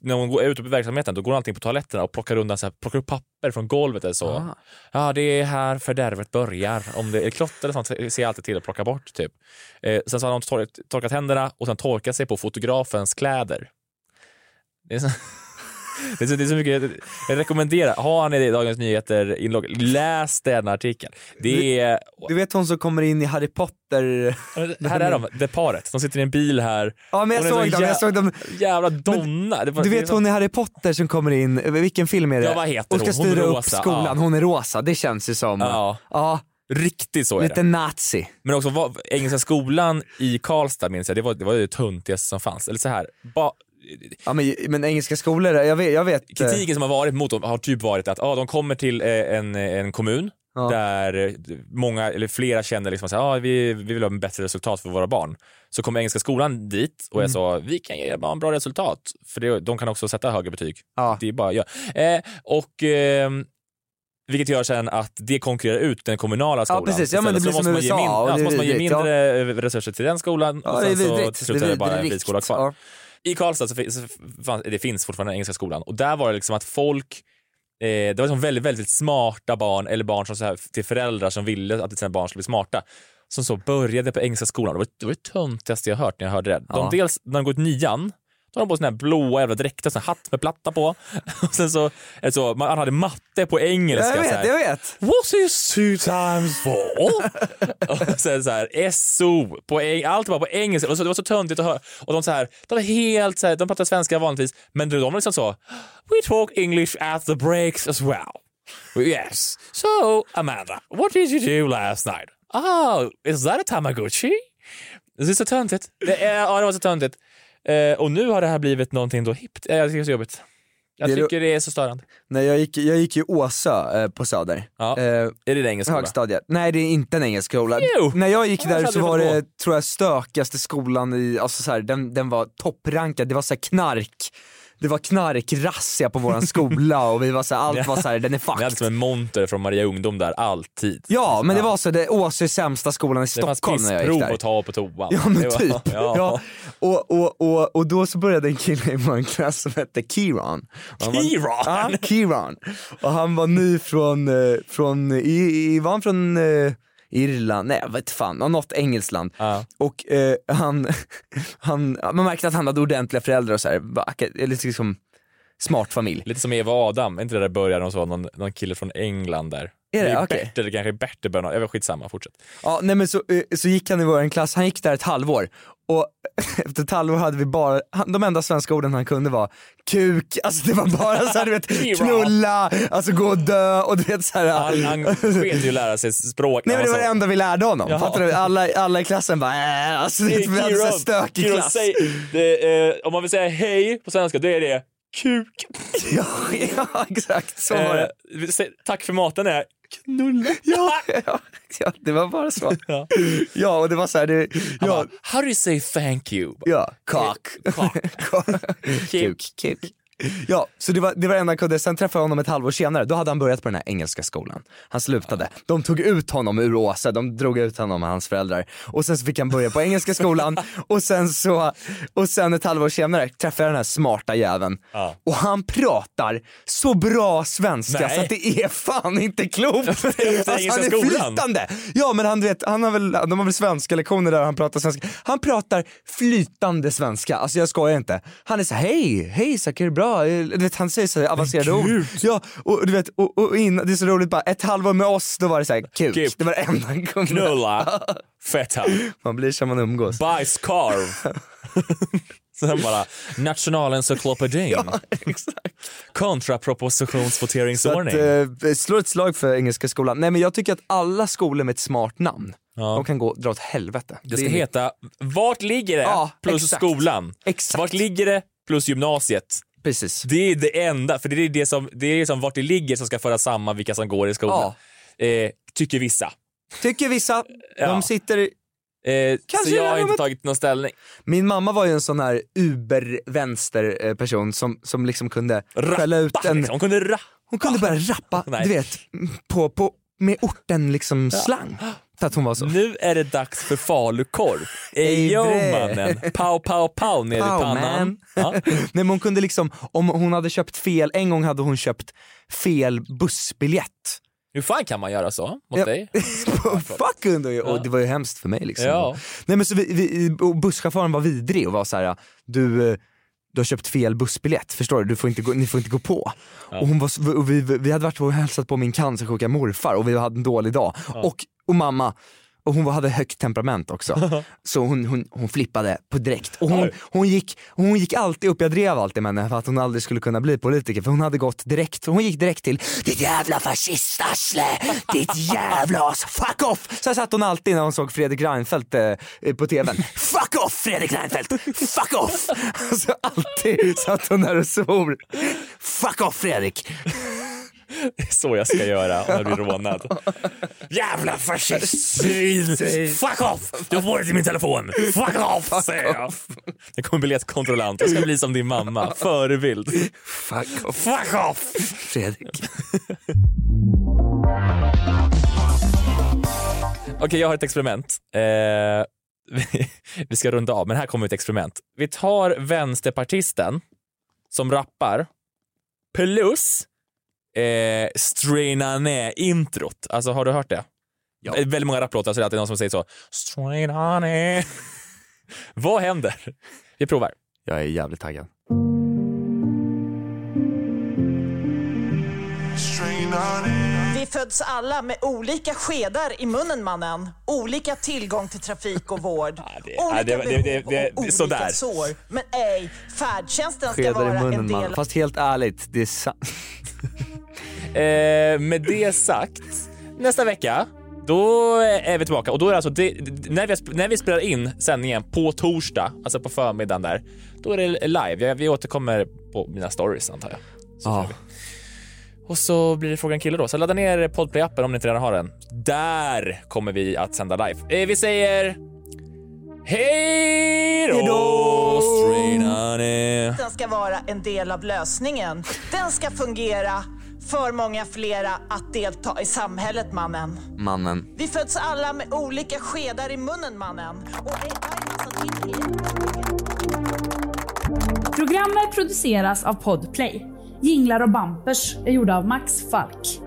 Speaker 2: när hon går ut på verksamheten, då går hon allting på toaletterna och plockar undan, så här, plockar upp papper från golvet eller så. Ja, ah, det är här fördärvet börjar. Om det är klotter eller sånt ser jag alltid till att plocka bort typ. Eh, sen så har hon torkat, torkat händerna och sen torkat sig på fotografens kläder. Det är så... Det är, så, det är så mycket, jag rekommenderar, har ni det i Dagens Nyheter inlogg, läs den artikeln. Det är,
Speaker 4: Du vet hon som kommer in i Harry Potter?
Speaker 2: här är de, det paret. De sitter i en bil här.
Speaker 4: Ja men jag
Speaker 2: Hon är
Speaker 4: såg
Speaker 2: så
Speaker 4: dem, jag
Speaker 2: jä-
Speaker 4: såg dem.
Speaker 2: Jävla donna. Det var-
Speaker 4: Du
Speaker 2: det är
Speaker 4: vet
Speaker 2: så-
Speaker 4: hon i Harry Potter som kommer in, vilken film är det?
Speaker 2: Ja, vad heter
Speaker 4: ska
Speaker 2: hon? Hon är
Speaker 4: styra upp
Speaker 2: rosa,
Speaker 4: skolan,
Speaker 2: ja.
Speaker 4: hon är rosa, det känns ju som.
Speaker 2: Ja. Riktigt så är
Speaker 4: Lite
Speaker 2: det.
Speaker 4: nazi.
Speaker 2: Men också vad, Engelska skolan i Karlstad minns jag, det var det, var det töntigaste som fanns. Eller så här, ba,
Speaker 4: Ja, men, men engelska skolor, jag vet, jag vet eh,
Speaker 2: kritiken som har varit mot dem har typ varit att ah, de kommer till eh, en, en kommun där eh, många, eller flera känner liksom att ah, vi, vi vill ha en bättre resultat för våra barn. Så kommer Engelska skolan dit och jag
Speaker 4: Mm.
Speaker 2: sa vi kan ge era barn bra resultat för det, de kan också sätta högre betyg. Det är bara, ja. eh, och, ehm, vilket gör sen att det konkurrerar ut den kommunala skolan.
Speaker 4: precis. Ja, men det
Speaker 2: istället. så
Speaker 4: blir som
Speaker 2: måste man ge,
Speaker 4: USA,
Speaker 2: mindre, ja,
Speaker 4: och det
Speaker 2: så
Speaker 4: är
Speaker 2: måste man ge
Speaker 4: vidrigt, ja.
Speaker 2: mindre eh, resurser till den skolan
Speaker 4: Ja,
Speaker 2: och
Speaker 4: det är
Speaker 2: sen så
Speaker 4: vidrigt.
Speaker 2: till slut
Speaker 4: Det är
Speaker 2: är det bara en
Speaker 4: vidrigt.
Speaker 2: friskola kvar. I Karlstad så, fin- så fanns, det finns fortfarande Engelska skolan och där var det liksom att folk eh, det var liksom väldigt, väldigt smarta barn eller barn som så här, till föräldrar som ville att sina barn skulle bli smarta som så började på Engelska skolan. Det var det, var det töntigaste jag hört när jag hörde det.
Speaker 4: Ja.
Speaker 2: De, dels när de gått nian, då har de på såna här blåa jävla dräkter, sån här hatt med platta på. Och sen så, eller så man hade matte på engelska.
Speaker 4: Jag vet,
Speaker 2: så här.
Speaker 4: jag vet.
Speaker 2: What is two times four? och sen så här, SO, på eng- allt var på engelska. Och så, det var så töntigt att höra. Och de så här, de var helt så här, de pratar svenska vanligtvis, men de var liksom så, we talk English at the breaks as well. Yes. So, Amanda, what did you do last night? Oh, is that a Tamagotchi? Det är så töntigt. Det, är, ja, det var så töntigt. Eh, och nu har det här blivit någonting då hippt. Eh, jag tycker det är så jobbigt. Jag
Speaker 4: Det är-
Speaker 2: tycker det är så störande.
Speaker 4: Nej, jag gick, jag gick ju Åsö eh, på Söder. Eh,
Speaker 2: Är det en engelsk skola?
Speaker 4: Högstadiet. Nej det är inte en engelsk skola.
Speaker 2: Jo!
Speaker 4: När jag gick
Speaker 2: Annars
Speaker 4: där
Speaker 2: hade
Speaker 4: så
Speaker 2: du
Speaker 4: var
Speaker 2: fått
Speaker 4: det tror jag stökigaste skolan i, alltså så här, den, den var topprankad, det var så här knark, det var knarkrazzia på våran skola och vi var så här, allt var så här, den är
Speaker 2: Ni hade som en monter från Maria Ungdom där, alltid.
Speaker 4: Ja men det var så, det Åsö är sämsta skolan i
Speaker 2: Det fanns
Speaker 4: Stockholm när jag gick
Speaker 2: pissprov
Speaker 4: där.
Speaker 2: att ta på toan.
Speaker 4: Ja men
Speaker 2: Det var-
Speaker 4: typ.
Speaker 2: Ja.
Speaker 4: Ja. Och, och, och, och då så började en kille i vår klass som hette Kiran. Och han var-
Speaker 2: Kiran?
Speaker 4: Ja, Kiran. Och han var ny från, eh, från i, i, var han från eh, Irland? Nej jag vet fan, något engelskt land. Och eh, han, han, man märkte att han hade ordentliga föräldrar och så här, var aka- eller liksom smart familj.
Speaker 2: Lite som Eva och Adam, är inte det där början och så, någon, någon kille från England där.
Speaker 4: Är det?
Speaker 2: är
Speaker 4: Okej.
Speaker 2: Bert, eller kanske Bert i början av- jag vet skitsamma, fortsätt.
Speaker 4: Ja, nej men så, eh, så gick han i vår klass, han gick där ett halvår och efter ett halvår hade vi bara, han, de enda svenska orden han kunde var kuk, alltså det var bara så här, du vet knulla, alltså gå och dö och du vet så här.
Speaker 2: Han, han sket ju att lära sig språk.
Speaker 4: Nej men
Speaker 2: Han
Speaker 4: det var
Speaker 2: sa-
Speaker 4: det enda vi lärde honom,
Speaker 2: alltså- Jaha.
Speaker 4: fattar du? Alla, alla i klassen bara äh, alltså det, vi hade så här
Speaker 2: Kiran,
Speaker 4: stökig
Speaker 2: Kiran,
Speaker 4: klass.
Speaker 2: säg- det, eh, om man vill säga hej på svenska, då är det kuk.
Speaker 4: ja, ja, exakt så var det.
Speaker 2: Eh, säg, tack för maten är knulla.
Speaker 4: Ja, ja, ja, det var bara så.
Speaker 2: Ja,
Speaker 4: och det var så här, det, ja.
Speaker 2: How do you say thank you?
Speaker 4: Ja, kak.
Speaker 2: Kak.
Speaker 4: Kuk. Kuk. Ja, så det var, det var enda kunde. Sen träffade jag honom ett halvår senare, då hade han börjat på den här engelska skolan. Han slutade. De tog ut honom ur Åsa, de drog ut honom och hans föräldrar. Och sen så fick han börja på engelska skolan och sen så, och sen ett halvår senare träffade jag den här smarta jäveln. Och han pratar så bra svenska
Speaker 13: Nej.
Speaker 4: så att det är fan inte klokt. alltså,
Speaker 13: Efter
Speaker 4: han
Speaker 13: engelska
Speaker 4: är
Speaker 13: skolan.
Speaker 4: flytande. Ja men han, du vet, han har väl, de har väl svenska lektioner där han pratar svenska. Han pratar flytande svenska, alltså jag skojar inte. Han är så här, hej, hej Isak, är det bra? Eh, Du vet, han säger så här avancerade ord. Ja, och du vet, och, och innan, det är så roligt bara, ett halvår med oss då var det så här, kuk.
Speaker 2: Kuk.
Speaker 4: Det var det enda han kunde.
Speaker 2: Knulla. Feta.
Speaker 4: Man blir som man umgås.
Speaker 2: Bajskorv. Sen bara nationalencyklopedin. ja,
Speaker 4: Så att,
Speaker 2: Kontrapropositionsvoteringsordning.
Speaker 4: eh, slå ett slag för Engelska skolan. Nej men jag tycker att alla skolor med ett smart namn, de kan gå, dra åt helvete.
Speaker 2: Det ska
Speaker 4: är-
Speaker 2: heta Vart ligger det?
Speaker 4: Ja,
Speaker 2: plus
Speaker 4: exakt.
Speaker 2: skolan. Vart ligger det? Plus gymnasiet.
Speaker 4: Precis.
Speaker 2: Det är det enda, för det är det som, det är det som vart det ligger som ska föra samman vilka som går i skolan. Eh, tycker vissa.
Speaker 4: Tycker vissa. De sitter i...
Speaker 2: Kanske Eh, så jag har inte tagit någon ställning.
Speaker 4: Min mamma var ju en sån här uber-vänster eh, person som, som liksom kunde skälla ut en...
Speaker 2: Hon kunde rappa.
Speaker 4: Hon kunde bara rappa, du vet, på, på, med orten liksom slang. För att hon var så.
Speaker 2: Nu är det dags för falukorv. Ejo
Speaker 4: Ej, bre.
Speaker 2: mannen, pow pow pow ner i
Speaker 4: Pow,
Speaker 2: pannan.
Speaker 4: man. Nej men hon kunde liksom, om hon hade köpt fel, en gång hade hon köpt fel bussbiljett.
Speaker 2: Hur fan kan man göra så mot dig?
Speaker 4: Fuck under ju, och det var ju hemskt för mig liksom.
Speaker 2: Ja.
Speaker 4: Nej men så vi, vi, och busschauffören var vidrig och var så här: du, eh, du har köpt fel bussbiljett, förstår du? du får inte gå, ni får inte gå på. Och hon var, så- och vi, vi hade varit och hälsat på min cancersjuka morfar och vi hade en dålig dag. Och, och mamma, och hon var- hade högt temperament också. Så hon, hon, hon flippade på direkt. Och hon, hon, gick, hon gick alltid upp, jag drev alltid med henne för att hon aldrig skulle kunna bli politiker för hon hade gått direkt, hon gick direkt till ditt jävla fascistarsle, ditt jävla as, fuck off! Så satt hon alltid när hon såg Fredrik Reinfeldt eh, eh, på tvn. Fuck off Fredrik Reinfeldt, fuck off! Alltså alltid satt hon där och svor. Fuck off Fredrik!
Speaker 2: Det är så jag ska göra om jag blir rånad. Jävla fascistsvin! Fuck off! Du har varit i min telefon! Fuck off säger jag! Jag kommer bli ett kontrollant. Jag ska bli som din mamma. Förebild.
Speaker 4: Fuck off!
Speaker 2: Fuck off!
Speaker 4: Fredrik.
Speaker 2: Okej, jag har ett experiment. Eh, vi- vi ska runda av, men här kommer ett experiment. Vi tar vänsterpartisten som rappar plus eh, straina ner introt. Alltså, har du hört det? Ja. Väldigt många rapplåtar så det är alltid någon som säger så. Straina ner. Vad händer? Vi provar.
Speaker 4: Jag är jävligt taggad.
Speaker 11: Vi föds alla med olika skedar i munnen mannen. Olika tillgång till trafik och vård.
Speaker 2: ja,
Speaker 11: Olika
Speaker 2: det- det- det- det-
Speaker 11: behov och olika
Speaker 2: sådär.
Speaker 11: sår. Men ej, färdtjänsten ska
Speaker 4: Skedar
Speaker 11: vara
Speaker 4: i
Speaker 11: en
Speaker 4: munnen
Speaker 11: del
Speaker 4: man. Fast helt ärligt, det är sant.
Speaker 2: Eh, med det sagt, nästa vecka då är vi tillbaka och då är det alltså det, när, vi, när vi spelar in sändningen på torsdag, alltså på förmiddagen där, då är det live. Jag, vi återkommer på mina stories antar jag.
Speaker 4: Ja.
Speaker 2: Och så blir det frågan kille då. Så ladda ner Podplay-appen om ni inte redan har den. Där kommer vi att sända live. Eh, vi säger hej då! Straina ner.
Speaker 11: Den ska vara en del av lösningen. Den ska fungera för många flera att delta i samhället, mannen.
Speaker 4: Mannen.
Speaker 11: Vi föds alla med olika skedar i munnen, mannen. Och AI massa till er.
Speaker 14: Programmet produceras av Podplay. Jinglar och bampers är gjorda av Max Falk.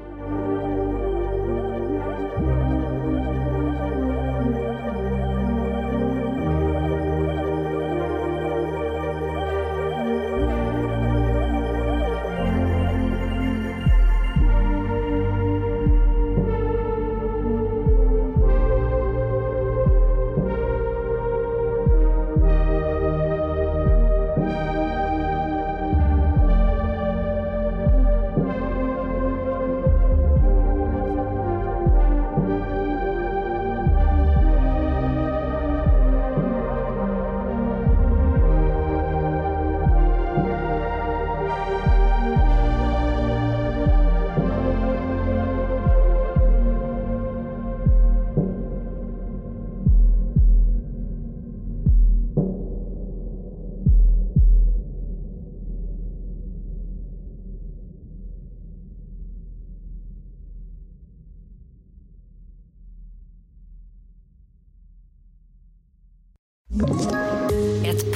Speaker 9: Ett